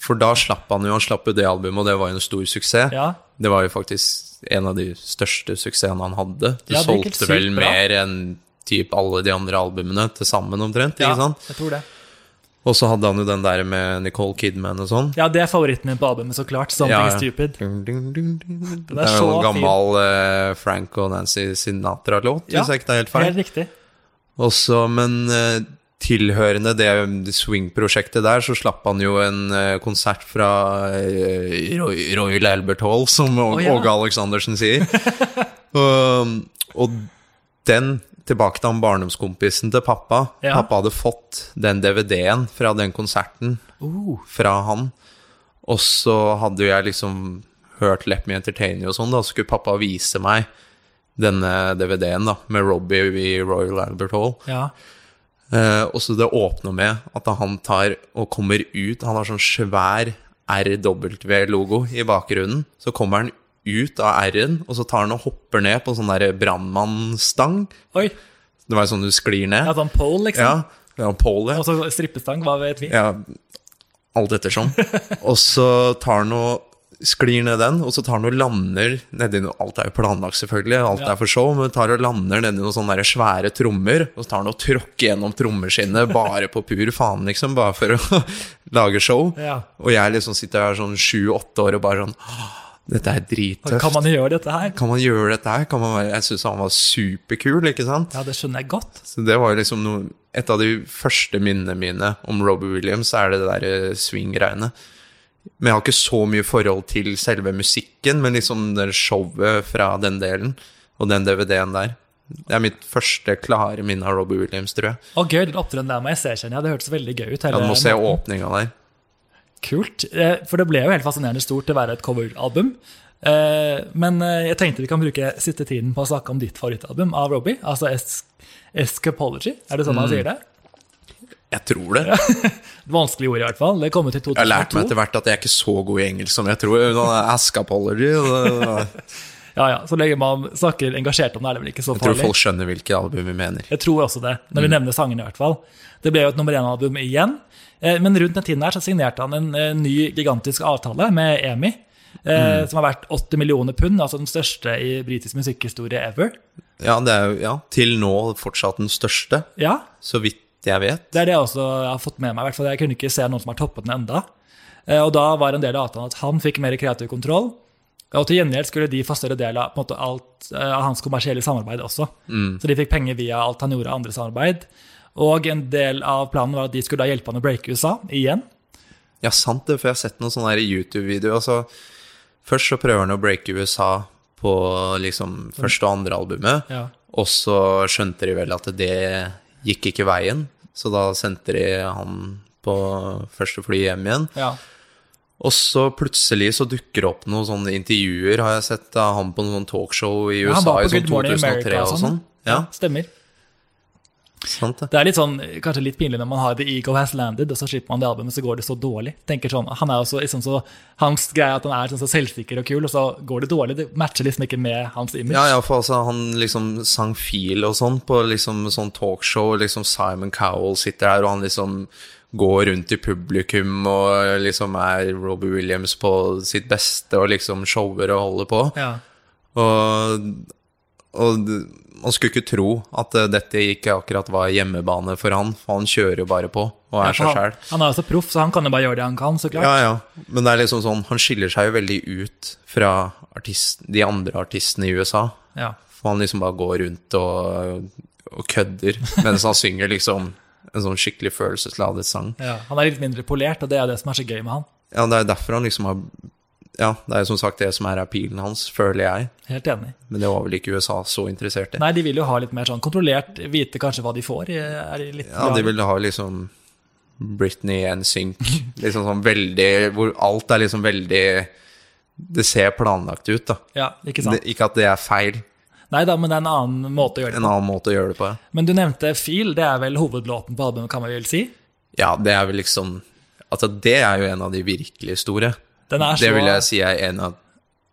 Speaker 2: for da slapp han jo, han slapp jo det albumet, og det var jo en stor suksess.
Speaker 1: ja,
Speaker 2: Det var jo faktisk en av de største suksessene han hadde. Det,
Speaker 1: Ja, det gikk helt
Speaker 2: solgte vel
Speaker 1: sykt bra.
Speaker 2: mer enn typ alle de andre albumene til sammen, omtrent.
Speaker 1: ja,
Speaker 2: ikke sant?
Speaker 1: jeg tror det.
Speaker 2: Og så hadde han jo den der med Nicole Kidman og sånn.
Speaker 1: Ja, det er favoritten min på albumet, så klart. 'Something
Speaker 2: Ja, ja.
Speaker 1: Stupid'.
Speaker 2: Dun, dun, dun, dun.
Speaker 1: er
Speaker 2: Det er jo
Speaker 1: så
Speaker 2: en gammel eh, Frank og Nancy Sinatra-låt,
Speaker 1: Ja,
Speaker 2: hvis jeg ikke tar helt feil.
Speaker 1: Helt riktig.
Speaker 2: Også, men eh, tilhørende det swing-prosjektet der, så slapp han jo en eh, konsert fra eh, Roy, Royal Albert Hall, som Å-
Speaker 1: Å, ja.
Speaker 2: Åge Aleksandersen sier. Um, og den tilbake til han barndomskompisen til pappa.
Speaker 1: Ja.
Speaker 2: Pappa hadde fått den DVD-en fra den konserten
Speaker 1: Uh,
Speaker 2: fra han. Og så hadde jo jeg liksom hørt Let Me Entertain You og sånn, da. Så skulle pappa vise meg denne DVD-en da, med Robbie i Royal Albert Hall.
Speaker 1: ja.
Speaker 2: Eh, og så det åpner med at han tar og kommer ut Han har sånn svær RW-logo i bakgrunnen. Så kommer han ut av R-en, og så tar han og hopper ned på sånn der brannmannstang.
Speaker 1: Oi.
Speaker 2: Det var jo sånn du sklir
Speaker 1: Ja,
Speaker 2: ned.
Speaker 1: sånn pole, liksom.
Speaker 2: Ja, det var pole.
Speaker 1: Og så strippestang, hva vet vi.
Speaker 2: Ja, alt ettersom. Og så tar han og sklir ned den, og så tar han og lander nedi noe Alt er jo planlagt, selvfølgelig, alt
Speaker 1: Ja.
Speaker 2: er for show, men tar og lander nedi noen sånne der svære trommer, og så tar han og tråkker gjennom trommeskinnet bare på pur faen, liksom, bare for å lage show.
Speaker 1: Ja.
Speaker 2: Og jeg liksom sitter her sånn sju-åtte år og bare sånn «Åh, Dette er drittøft.
Speaker 1: Kan man gjøre dette her?
Speaker 2: Kan man gjøre dette her? Kan man være Jeg syns han var superkul, ikke sant?
Speaker 1: Ja, det skjønner jeg godt.
Speaker 2: Så det var jo liksom noe, et av de første minnene mine om Robbie Williams, er det der eh, swing-greiene. Men jeg har ikke så mye forhold til selve musikken, men liksom det showet fra den delen, og den DVD-en der. Det er mitt første klare minne av Robbie Williams, tror jeg.
Speaker 1: Og gøy, den opptredenen der må jeg se, kjenner jeg. Det hørtes veldig gøy ut. hele
Speaker 2: Ja, nå ser jeg
Speaker 1: natten.
Speaker 2: åpninga der.
Speaker 1: Kult. eh, For det ble jo helt fascinerende stort til å være et coveralbum. Eh, Men eh, jeg tenkte vi kan bruke siste tiden på å snakke om ditt favorittalbum av Robbie. Altså Es Escapology. Er det sånn
Speaker 2: Mm.
Speaker 1: han sier det?
Speaker 2: Jeg tror det. Jeg
Speaker 1: Et vanskelig ord, i hvert fall. Det kom ut i 2002.
Speaker 2: har lært meg etter hvert at jeg er ikke så god i engelsk som jeg tror. Nå er jeg Askapology, og det-
Speaker 1: Ja, ja. Så lenge man snakker engasjert om det, er det vel ikke så
Speaker 2: jeg tror
Speaker 1: farlig.
Speaker 2: folk Mm. skjønner hvilke album vi mener.
Speaker 1: Jeg tror også det, når vi nevner sangene i hvert fall. Det ble jo et nummer én-album igjen. Eh, Men rundt den tiden her så signerte han en eh, ny gigantisk avtale med EMI. eh,
Speaker 2: Mm.
Speaker 1: Som har vært 80 millioner pund, altså den største i britisk musikkhistorie ever.
Speaker 2: Ja, det er jo ja, til nå fortsatt den største,
Speaker 1: Ja,
Speaker 2: så vidt jeg vet.
Speaker 1: Det er det jeg også har fått med meg. i hvert fall. Jeg kunne ikke se noen som har toppet den enda. Eh, Og da var en del av avtalen at han fikk mer kreativ kontroll. Og til gjengjeld skulle de få større del av, på en måte, alt, eh, av hans kommersielle samarbeid også.
Speaker 2: Mm.
Speaker 1: Så de fikk penger via alt han gjorde av andre samarbeid. Og en del av planen var at de skulle da hjelpe han å breake USA igjen.
Speaker 2: Ja, sant det, for jeg har sett noen sånne her YouTube-videoer. Altså, først så prøver han å breake USA på liksom første og andre albumet,
Speaker 1: Ja.
Speaker 2: og så skjønte de vel at det gikk ikke veien, så da sendte de han på første fly hjem igjen.
Speaker 1: Ja.
Speaker 2: Og så plutselig så dukker det opp noen sånne intervjuer, har jeg sett, av han på noen talkshow i
Speaker 1: Han
Speaker 2: USA
Speaker 1: var
Speaker 2: i
Speaker 1: på
Speaker 2: sånn
Speaker 1: Good Morning
Speaker 2: 2003
Speaker 1: America
Speaker 2: og sånn. Ja,
Speaker 1: Stemmer.
Speaker 2: sant det.
Speaker 1: Det er litt sånn, kanskje litt pinlig når man har The Eagle Has Landed, og så slipper man det albumet, så går det så dårlig. Tenker sånn, Han er jo så, liksom så, hans greie er at han er sånn så selvsikker og kul, og så går det dårlig. Det matcher liksom ikke med hans image.
Speaker 2: Ja, ja, for altså, han liksom sang fil og sånn på liksom sånn talkshow, liksom Simon Cowell sitter der, og han liksom går rundt i publikum og liksom er Robbie Williams på sitt beste og liksom shower og holder på.
Speaker 1: Ja.
Speaker 2: Og, og d- man skulle ikke tro at eh, dette ikke akkurat var hjemmebane for han, for han kjører jo bare på og er
Speaker 1: For
Speaker 2: seg
Speaker 1: han,
Speaker 2: sjæl.
Speaker 1: han er jo så proff, så han kan jo bare gjøre det han kan, så klart.
Speaker 2: Ja, ja. Men det er liksom sånn, han skiller seg jo veldig ut fra artist, de andre artistene i USA.
Speaker 1: Ja.
Speaker 2: For han liksom bare går rundt og, og kødder mens han synger liksom en sånn skikkelig følelsesladet sang.
Speaker 1: Ja. Han er litt mindre polert, og det er det som er så gøy med han.
Speaker 2: Ja, det er derfor han liksom har Ja, det er jo som sagt det som er appealen hans, føler jeg.
Speaker 1: Helt enig.
Speaker 2: Men det var vel ikke USA så interessert i.
Speaker 1: Nei, de vil jo ha litt mer sånn kontrollert, vite kanskje hva de får. Er de litt
Speaker 2: Ja, de ville ha liksom Britney and Sync. Liksom sånn veldig Hvor alt er liksom veldig Det ser planlagt ut, da.
Speaker 1: Ja, ikke
Speaker 2: Det,
Speaker 1: sant.
Speaker 2: ikke at det er feil.
Speaker 1: Nei da, men det er en annen måte å gjøre det
Speaker 2: En annen måte å gjøre det på. ja.
Speaker 1: på. Men du nevnte Feel, det er vel hovedlåten på albumet, kan man vel si?
Speaker 2: Ja, det er vel liksom Altså, det er jo en av de virkelig store.
Speaker 1: Den er så
Speaker 2: Det vil jeg si er en av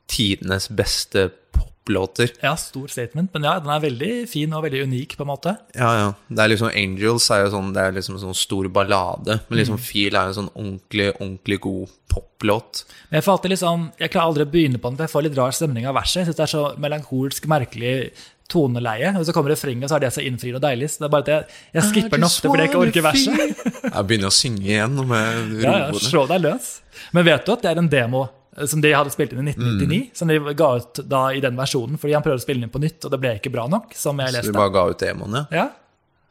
Speaker 2: tidenes beste poplåter.
Speaker 1: Ja, stor statement, men ja, den er veldig fin og veldig unik, på en måte.
Speaker 2: Ja, ja. Det er liksom Angels er jo sånn, det er liksom en sånn stor ballade,
Speaker 1: Mm.
Speaker 2: men liksom Feel er jo en sånn ordentlig, ordentlig god poplåt.
Speaker 1: Men jeg, får alltid litt sånn- jeg klarer aldri å begynne på den, for jeg får litt rar stemning av verset. Jeg synes det er så melankolsk, merkelig toneleie. Og så kommer refrenget, og så er det så innfriende og deilig. Så det er bare at jeg, jeg
Speaker 2: Ah,
Speaker 1: skipper den ofte fordi jeg ikke orker verset.
Speaker 2: Jeg begynner å synge igjen om jeg
Speaker 1: Ja,
Speaker 2: roer
Speaker 1: ja,
Speaker 2: ned.
Speaker 1: slå deg løs. Men vet du at det er en demo eh, som de hadde spilt inn i 1999,
Speaker 2: Mm.
Speaker 1: som de ga ut da i den versjonen, fordi han prøvde å spille den inn på nytt, og det ble ikke bra nok, som jeg
Speaker 2: Så de
Speaker 1: leste.
Speaker 2: bare ga ut demoene.
Speaker 1: Ja,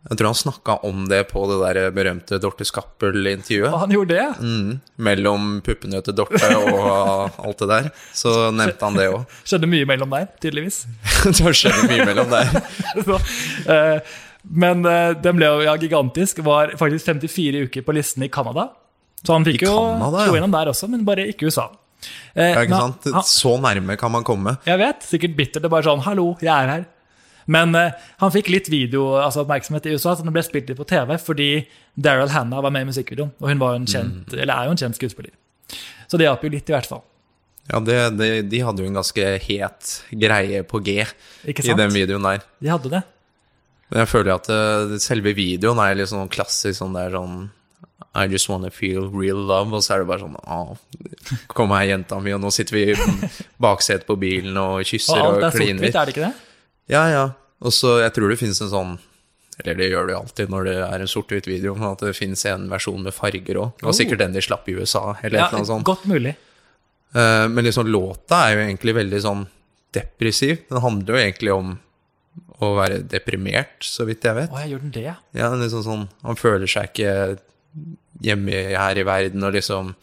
Speaker 2: Jeg tror han snakka om det på det der berømte Dorte Skappel-intervjuet.
Speaker 1: og han gjorde det.
Speaker 2: Mm. Mellom puppene til Dorte og alt det der. Så nevnte han det òg.
Speaker 1: Skjedde mye mellom der, tydeligvis.
Speaker 2: Det har skjedd mye mellom der.
Speaker 1: Så, eh, men eh, den ble jo ja, gigantisk. Var faktisk 54 uker på listen i Canada. Så han fikk jo
Speaker 2: Canada, ja.
Speaker 1: slo gjennom der også, men bare ikke i USA. Eh,
Speaker 2: Ja, ikke
Speaker 1: men
Speaker 2: sant?
Speaker 1: Han,
Speaker 2: Så nærme kan man komme.
Speaker 1: jeg vet, sikkert bittert. Det er bare sånn 'hallo, jeg er her'. Men eh, han fikk litt video, altså oppmerksomhet i USA, så den ble spilt litt på TV fordi Daryl Hannah var med i musikkvideoen. Og hun var jo en kjent,
Speaker 2: Mm.
Speaker 1: eller er jo en kjent skuespiller. Så det hjalp jo litt, i hvert fall.
Speaker 2: Ja, det, det, De hadde jo en ganske het greie på G
Speaker 1: Ikke
Speaker 2: i
Speaker 1: sant?
Speaker 2: den videoen der.
Speaker 1: De hadde det.
Speaker 2: Men jeg føler at eh, selve videoen er litt sånn klassisk sånn der sånn I just wanna feel real love, og så er det bare sånn Å, kom her, jenta mi, og nå sitter vi i baksetet på bilen og
Speaker 1: Og
Speaker 2: kysser og,
Speaker 1: alt er sort-hvitt,
Speaker 2: kliner.
Speaker 1: er det ikke det?
Speaker 2: Ja, ja. Og så jeg tror det finnes en sånn eller det gjør det jo alltid når det er en sort-hvitt video, men at det finnes en versjon med farger òg. Det var sikkert den de slapp i USA, eller
Speaker 1: Oh. Ja,
Speaker 2: et eller annet sånt.
Speaker 1: godt mulig.
Speaker 2: Eh, Men liksom låta er jo egentlig veldig sånn depressiv. Den handler jo egentlig om å være deprimert, så vidt jeg vet.
Speaker 1: Å, jeg gjorde den det, ja.
Speaker 2: Ja, den er liksom sånn, Han føler seg ikke hjemme her i verden og liksom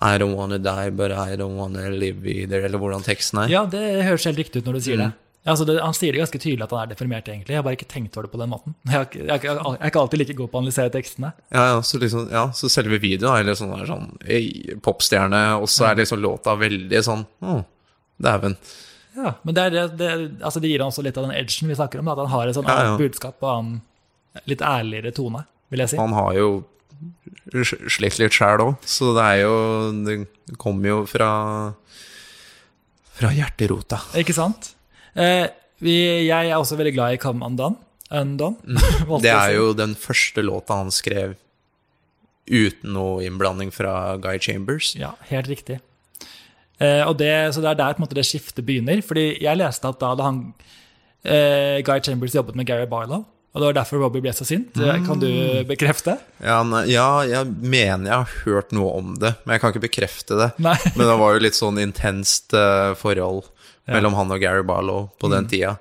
Speaker 2: I don't wanna die, but I don't wanna live either, eller hvordan teksten er.
Speaker 1: Ja, det høres helt riktig ut når du
Speaker 2: Mm.
Speaker 1: sier det. Altså, det. Han sier det ganske tydelig at han er deprimert, egentlig. Jeg har bare ikke tenkt over det på den måten. Jeg, har ikke- jeg, har ikke- jeg er ikke alltid like god på å analysere tekstene.
Speaker 2: Ja, ja, så, liksom, ja, så selve videoen er liksom er sånn ei, popstjerne, og så er liksom låta veldig sånn Å, dæven.
Speaker 1: Ja, men det, er, det- det, altså, det gir han også litt av den edgen vi snakker om, da, at han har et sånn
Speaker 2: Ja, ja.
Speaker 1: annet budskap og en litt ærligere tone, vil jeg si.
Speaker 2: Han har jo sl- slitt litt sjæl òg, så det er jo Det kommer jo fra Fra hjerterota.
Speaker 1: Ikke sant? Eh, vi, jeg er også veldig glad i Come Undone. Undone. valgte
Speaker 2: Mm. Det
Speaker 1: jeg å
Speaker 2: er
Speaker 1: si.
Speaker 2: jo den første låta han skrev uten noe innblanding fra Guy Chambers.
Speaker 1: Ja, helt riktig. Eh, og det, så det er der på en måte, det skiftet begynner. Fordi jeg leste at da hadde han eh, Guy Chambers jobbet med Gary Barlow. Og det var derfor Robbie ble så sint. Det Kan du bekrefte?
Speaker 2: Ja, nei, ja, jeg mener jeg har hørt noe om det, men jeg kan ikke bekrefte det.
Speaker 1: Nei.
Speaker 2: Men det var jo litt sånn intenst eh, forhold mellom han og Gary Barlow på den tida.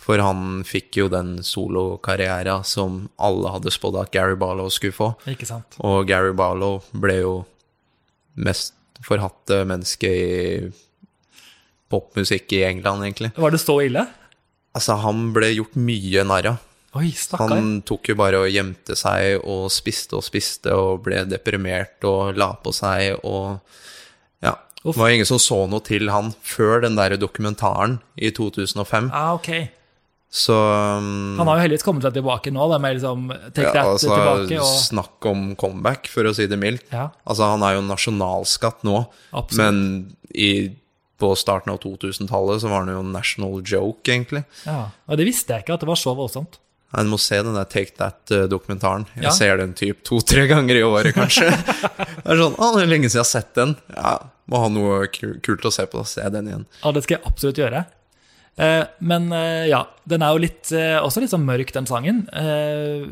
Speaker 2: For han fikk jo den solokarriera som alle hadde spådd at Gary Barlow skulle få.
Speaker 1: Ikke sant.
Speaker 2: Og Gary Barlow ble jo mest forhatte menneske i popmusikk i England, egentlig.
Speaker 1: Var det så ille?
Speaker 2: Altså, han ble gjort mye narr av.
Speaker 1: Oi, stakkar.
Speaker 2: Han tok jo bare og gjemte seg og spiste og spiste og ble deprimert og la på seg og Ja. Det var ingen som så noe til han før den der dokumentaren i 2005.
Speaker 1: Ah, ok.
Speaker 2: Så um,
Speaker 1: Han har jo heldigvis kommet seg tilbake nå, da, med liksom Take
Speaker 2: ja,
Speaker 1: That
Speaker 2: altså,
Speaker 1: tilbake. Og,
Speaker 2: Snakk om comeback, for å si det mildt.
Speaker 1: Ja.
Speaker 2: Altså, han er jo nasjonalskatt nå,
Speaker 1: Absolutt.
Speaker 2: men i, på starten av 2000-tallet så var han jo en national joke, egentlig.
Speaker 1: ja. og det visste jeg ikke, at det var så voldsomt.
Speaker 2: En må se den der Take That-dokumentaren. Jeg
Speaker 1: Ja.
Speaker 2: ser den typ to-tre ganger i året, kanskje. det er sånn, å, det er lenge siden jeg har sett den. Ja, Må ha noe ku- kult å se på, da ser jeg den igjen.
Speaker 1: Ja, det skal jeg absolutt gjøre. Eh, men eh, ja, den er jo litt, eh, også litt sånn mørk, den sangen. Eh,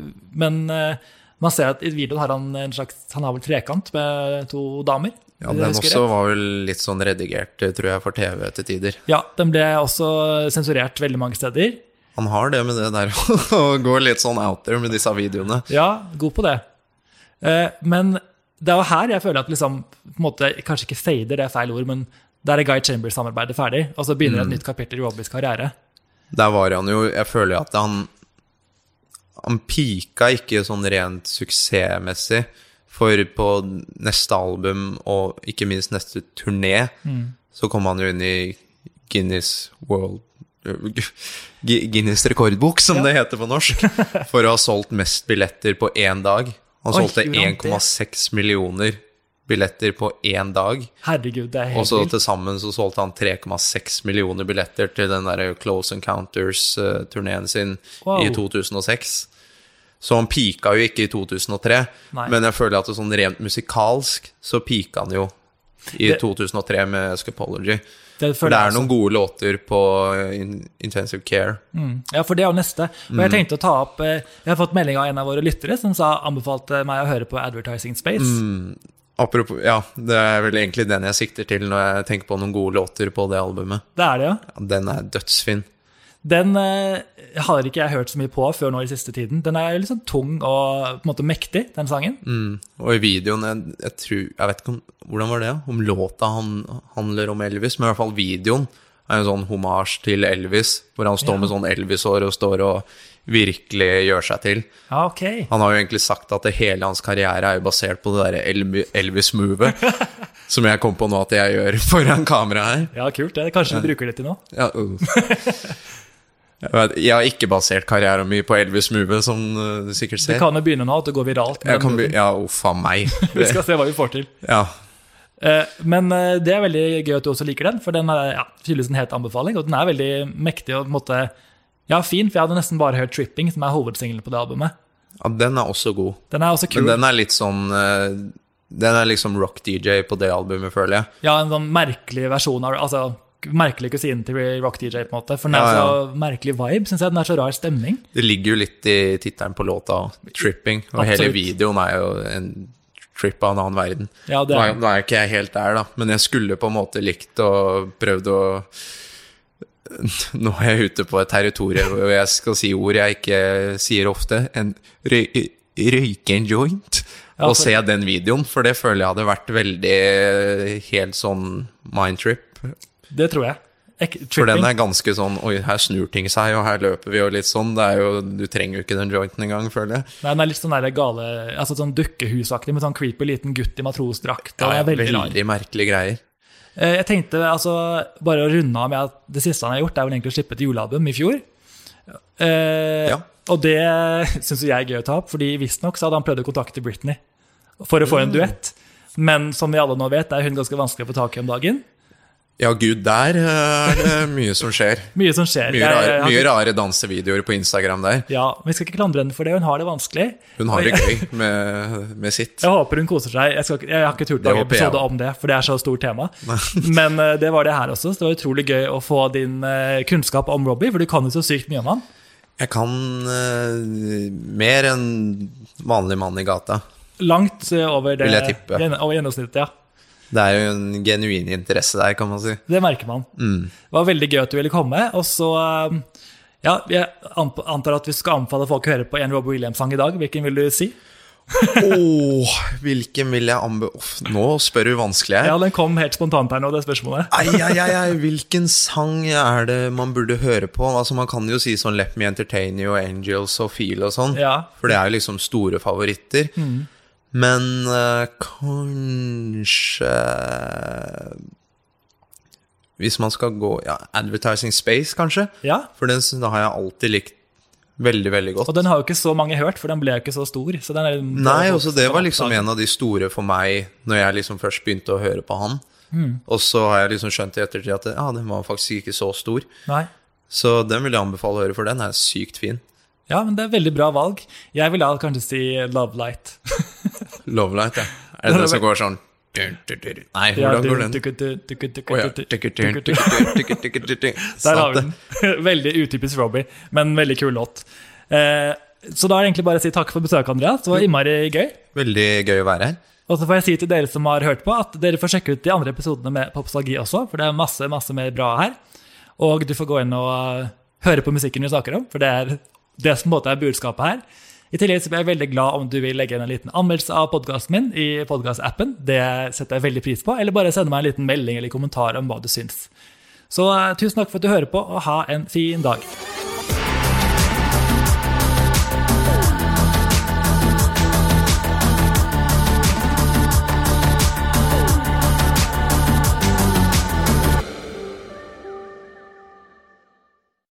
Speaker 1: men eh, man ser at i videoen har han en slags Han har vel trekant med to damer. hvis
Speaker 2: Ja,
Speaker 1: jeg
Speaker 2: Den
Speaker 1: husker
Speaker 2: også
Speaker 1: rett.
Speaker 2: var vel litt sånn redigert, tror jeg, for TV til tider.
Speaker 1: Ja, den ble også sensurert veldig mange steder.
Speaker 2: Han har det med det der å gå litt sånn out there med disse videoene.
Speaker 1: Ja, god på det. Eh, men det er jo her jeg føler at liksom, på en måte, kanskje ikke fader, det er feil ord, men der er Guy Chambers-samarbeidet ferdig, og så begynner
Speaker 2: Mm.
Speaker 1: et nytt kapittel i Robbies karriere.
Speaker 2: Der var han jo Jeg føler at han Han pika ikke sånn rent suksessmessig, for på neste album og ikke minst neste turné
Speaker 1: Mm.
Speaker 2: så kom han jo inn i Guinness World Gu- Guinness rekordbok, som det heter på norsk, for å ha solgt mest billetter på én dag. Han
Speaker 1: Oi,
Speaker 2: solgte
Speaker 1: gjorde han det?
Speaker 2: 1,6 millioner billetter på én dag.
Speaker 1: Herregud, det er
Speaker 2: Og
Speaker 1: helt
Speaker 2: så
Speaker 1: vilt.
Speaker 2: til sammen så solgte han 3,6 millioner billetter til den der Close Encounters-turneen sin
Speaker 1: Wow.
Speaker 2: i 2006. Så han pika jo ikke i 2003,
Speaker 1: Nei.
Speaker 2: men jeg føler at det sånn rent musikalsk så pika han jo i
Speaker 1: Det-
Speaker 2: 2003 med Scapology.
Speaker 1: Det altså-
Speaker 2: For
Speaker 1: føler
Speaker 2: det
Speaker 1: jeg
Speaker 2: er
Speaker 1: også.
Speaker 2: noen gode låter på eh, In Intensive Care.
Speaker 1: Mm. Ja, for det er jo neste. Og
Speaker 2: Mm.
Speaker 1: jeg tenkte å ta opp eh, Jeg har fått melding av en av våre lyttere som sa anbefalte meg å høre på Advertising Space.
Speaker 2: Mm. Apropos, ja, det er vel egentlig den jeg sikter til når jeg tenker på noen gode låter på det albumet.
Speaker 1: Det er det, ja.
Speaker 2: Ja, Den er dødsfin.
Speaker 1: Den eh, har ikke jeg hørt så mye på før nå i siste tiden. Den er litt sånn tung og på en måte mektig, den sangen.
Speaker 2: Mm. Og i videoen, jeg, jeg tror Jeg vet ikke om, hvordan var det? Om låta han, handler om Elvis, men i hvert fall videoen er en sånn homasj til Elvis, hvor han står med sånn Elvis-hår og står og virkelig gjør seg til.
Speaker 1: Ja, ok.
Speaker 2: Han har jo egentlig sagt at det hele hans karriere er jo basert på det derre Elmi- Elvis-movet, som jeg kom på nå at jeg gjør foran kamera her.
Speaker 1: Ja, kult. Det. Kanskje vi bruker det til noe.
Speaker 2: Ja, uh. jeg, vet, jeg har ikke basert karrieren min på Elvis-movet, som uh, du sikkert
Speaker 1: Det
Speaker 2: ser.
Speaker 1: kan jo begynne nå, at det går viralt.
Speaker 2: Jeg
Speaker 1: men
Speaker 2: kan be ja, uff a meg.
Speaker 1: Vi skal se hva vi får til.
Speaker 2: Ja,
Speaker 1: Eh, Men eh, det er veldig gøy at du også liker den, for den er ja, tydeligvis en het anbefaling. Og den er veldig mektig og på en måte Ja, fin, for jeg hadde nesten bare hørt 'Tripping', som er hovedsingelen på det albumet.
Speaker 2: ja, den er også god.
Speaker 1: Den er også kul.
Speaker 2: Men den er litt sånn eh, Den er liksom rock DJ på det albumet, føler jeg.
Speaker 1: Ja, en sånn merkelig versjon av altså, Merkelig kusine til Rock DJ, på en måte. For den er
Speaker 2: Ja,
Speaker 1: så merkelig vibe, syns jeg. Den er så rar stemning.
Speaker 2: Det ligger jo litt i tittelen på låta, 'Tripping', og hele
Speaker 1: Absolutt.
Speaker 2: videoen er jo en trip av en annen verden.
Speaker 1: Ja, det
Speaker 2: Nå er,
Speaker 1: er,
Speaker 2: nå er ikke jeg helt der, da, men jeg skulle på en måte likt og prøvd å Nå er jeg ute på et territorium hvor jeg skal si ord jeg ikke sier ofte. En røy, røyke en joint.
Speaker 1: Ja,
Speaker 2: og
Speaker 1: for-
Speaker 2: se den videoen, for det føler jeg hadde vært veldig helt sånn mind trip.
Speaker 1: det tror jeg. Ek,
Speaker 2: For den
Speaker 1: tripping.
Speaker 2: er ganske sånn Oi, her snur ting seg, og her løper vi, og litt sånn. Det er jo, du trenger jo ikke den jointen engang, føler jeg.
Speaker 1: Nei, den er litt sånn der gale altså sånn dukkehusaktig, med sånn creepy liten gutt i matrosdrakt. Den er veldig rar.
Speaker 2: veldig merkelige greier.
Speaker 1: Eh, Jeg tenkte altså, bare å runde av med at det siste han har gjort, er vel egentlig å slippe et julealbum i fjor. Eh,
Speaker 2: Ja.
Speaker 1: Og det syns jeg er gøy å ta opp, fordi visstnok så hadde han prøvd å kontakte Britney for å få
Speaker 2: Mm.
Speaker 1: en duett. Men som vi alle nå vet, er hun ganske vanskelig å få tak i om dagen.
Speaker 2: Ja, gud, der eh, er det mye som skjer.
Speaker 1: Mye som skjer.
Speaker 2: Mye
Speaker 1: Jeg-
Speaker 2: rare,
Speaker 1: jeg har
Speaker 2: mye rare dansevideoer på Instagram der.
Speaker 1: Ja, Vi skal ikke klandre henne for det, hun har det vanskelig.
Speaker 2: Hun har det gøy med, med sitt.
Speaker 1: Jeg håper hun koser seg. Jeg, skal, ikke- jeg har ikke turt å
Speaker 2: Det
Speaker 1: lage
Speaker 2: håper jeg
Speaker 1: episode
Speaker 2: også.
Speaker 1: om det, for det er så stort tema. Men eh, det var det her også, så det var utrolig gøy å få din eh, kunnskap om Robbie, for du kan jo så sykt mye om han.
Speaker 2: Jeg kan eh, mer enn vanlig mann i gata.
Speaker 1: Langt eh, over det
Speaker 2: Vil jeg tippe.
Speaker 1: gjen- over gjennomsnittet, ja.
Speaker 2: Det er jo en genuin interesse der, kan man si.
Speaker 1: Det merker man.
Speaker 2: Mm.
Speaker 1: Det var veldig gøy at du ville komme. Og så eh, Ja, jeg anp- antar at vi skal anbefale folk å høre på en Robbie Williams-sang i dag. Hvilken vil du si?
Speaker 2: Åh, hvilken vil jeg anbe... Uff, nå spør du vanskelig her.
Speaker 1: Ja, den kom helt spontant her nå, det spørsmålet.
Speaker 2: Ai, ai, ai, ai, hvilken sang er det man burde høre på? Altså, Man kan jo si sånn Let Me Entertain You, Angels og Feel og sånn.
Speaker 1: Ja. Mm.
Speaker 2: For det er jo liksom store favoritter. Men eh, kanskje Hvis man skal gå ja, Advertising Space, kanskje?
Speaker 1: Ja,
Speaker 2: For den s- den har jeg alltid likt veldig, veldig godt.
Speaker 1: og den har jo ikke så mange hørt, for den ble jo ikke så stor. Så den er,
Speaker 2: Nei, også det var liksom en av de store for meg når jeg liksom først begynte å høre på han. Og så har jeg liksom skjønt i ettertid at ja, den var faktisk ikke så stor.
Speaker 1: Nei.
Speaker 2: Så den vil jeg anbefale å høre, for den er sykt fin.
Speaker 1: Ja, men det er veldig bra valg. Jeg vil da kanskje si Love Light.
Speaker 2: Lovelight, ja. Er det den som går sånn dun, dun, dun, dun. Nei, hvordan går den? Å ja. Tikk, tikk,
Speaker 1: Der
Speaker 2: tikk, tikk, tikk, tikk, tikk, tikk.
Speaker 1: har vi
Speaker 2: Sant det.
Speaker 1: den. Veldig utypisk Robbie, men veldig kul låt. Eh, Så da er det egentlig bare å si takk for besøket, Andreas. Det var innmari gøy.
Speaker 2: Veldig gøy å være her.
Speaker 1: Og så får jeg si til dere som har hørt på, at dere får sjekke ut de andre episodene med Popstalgi også, for det er masse, masse mer bra her. Og du får gå inn og eh, høre på musikken vi snakker om, for det er det som på en måte er budskapet her. I tillegg så blir jeg veldig glad om du vil legge inn en liten anmeldelse av podkasten min i podkastappen. Det setter jeg veldig pris på. Eller bare sende meg en liten melding eller kommentar om hva du syns. Så eh, tusen takk for at du hører på, og ha en fin dag.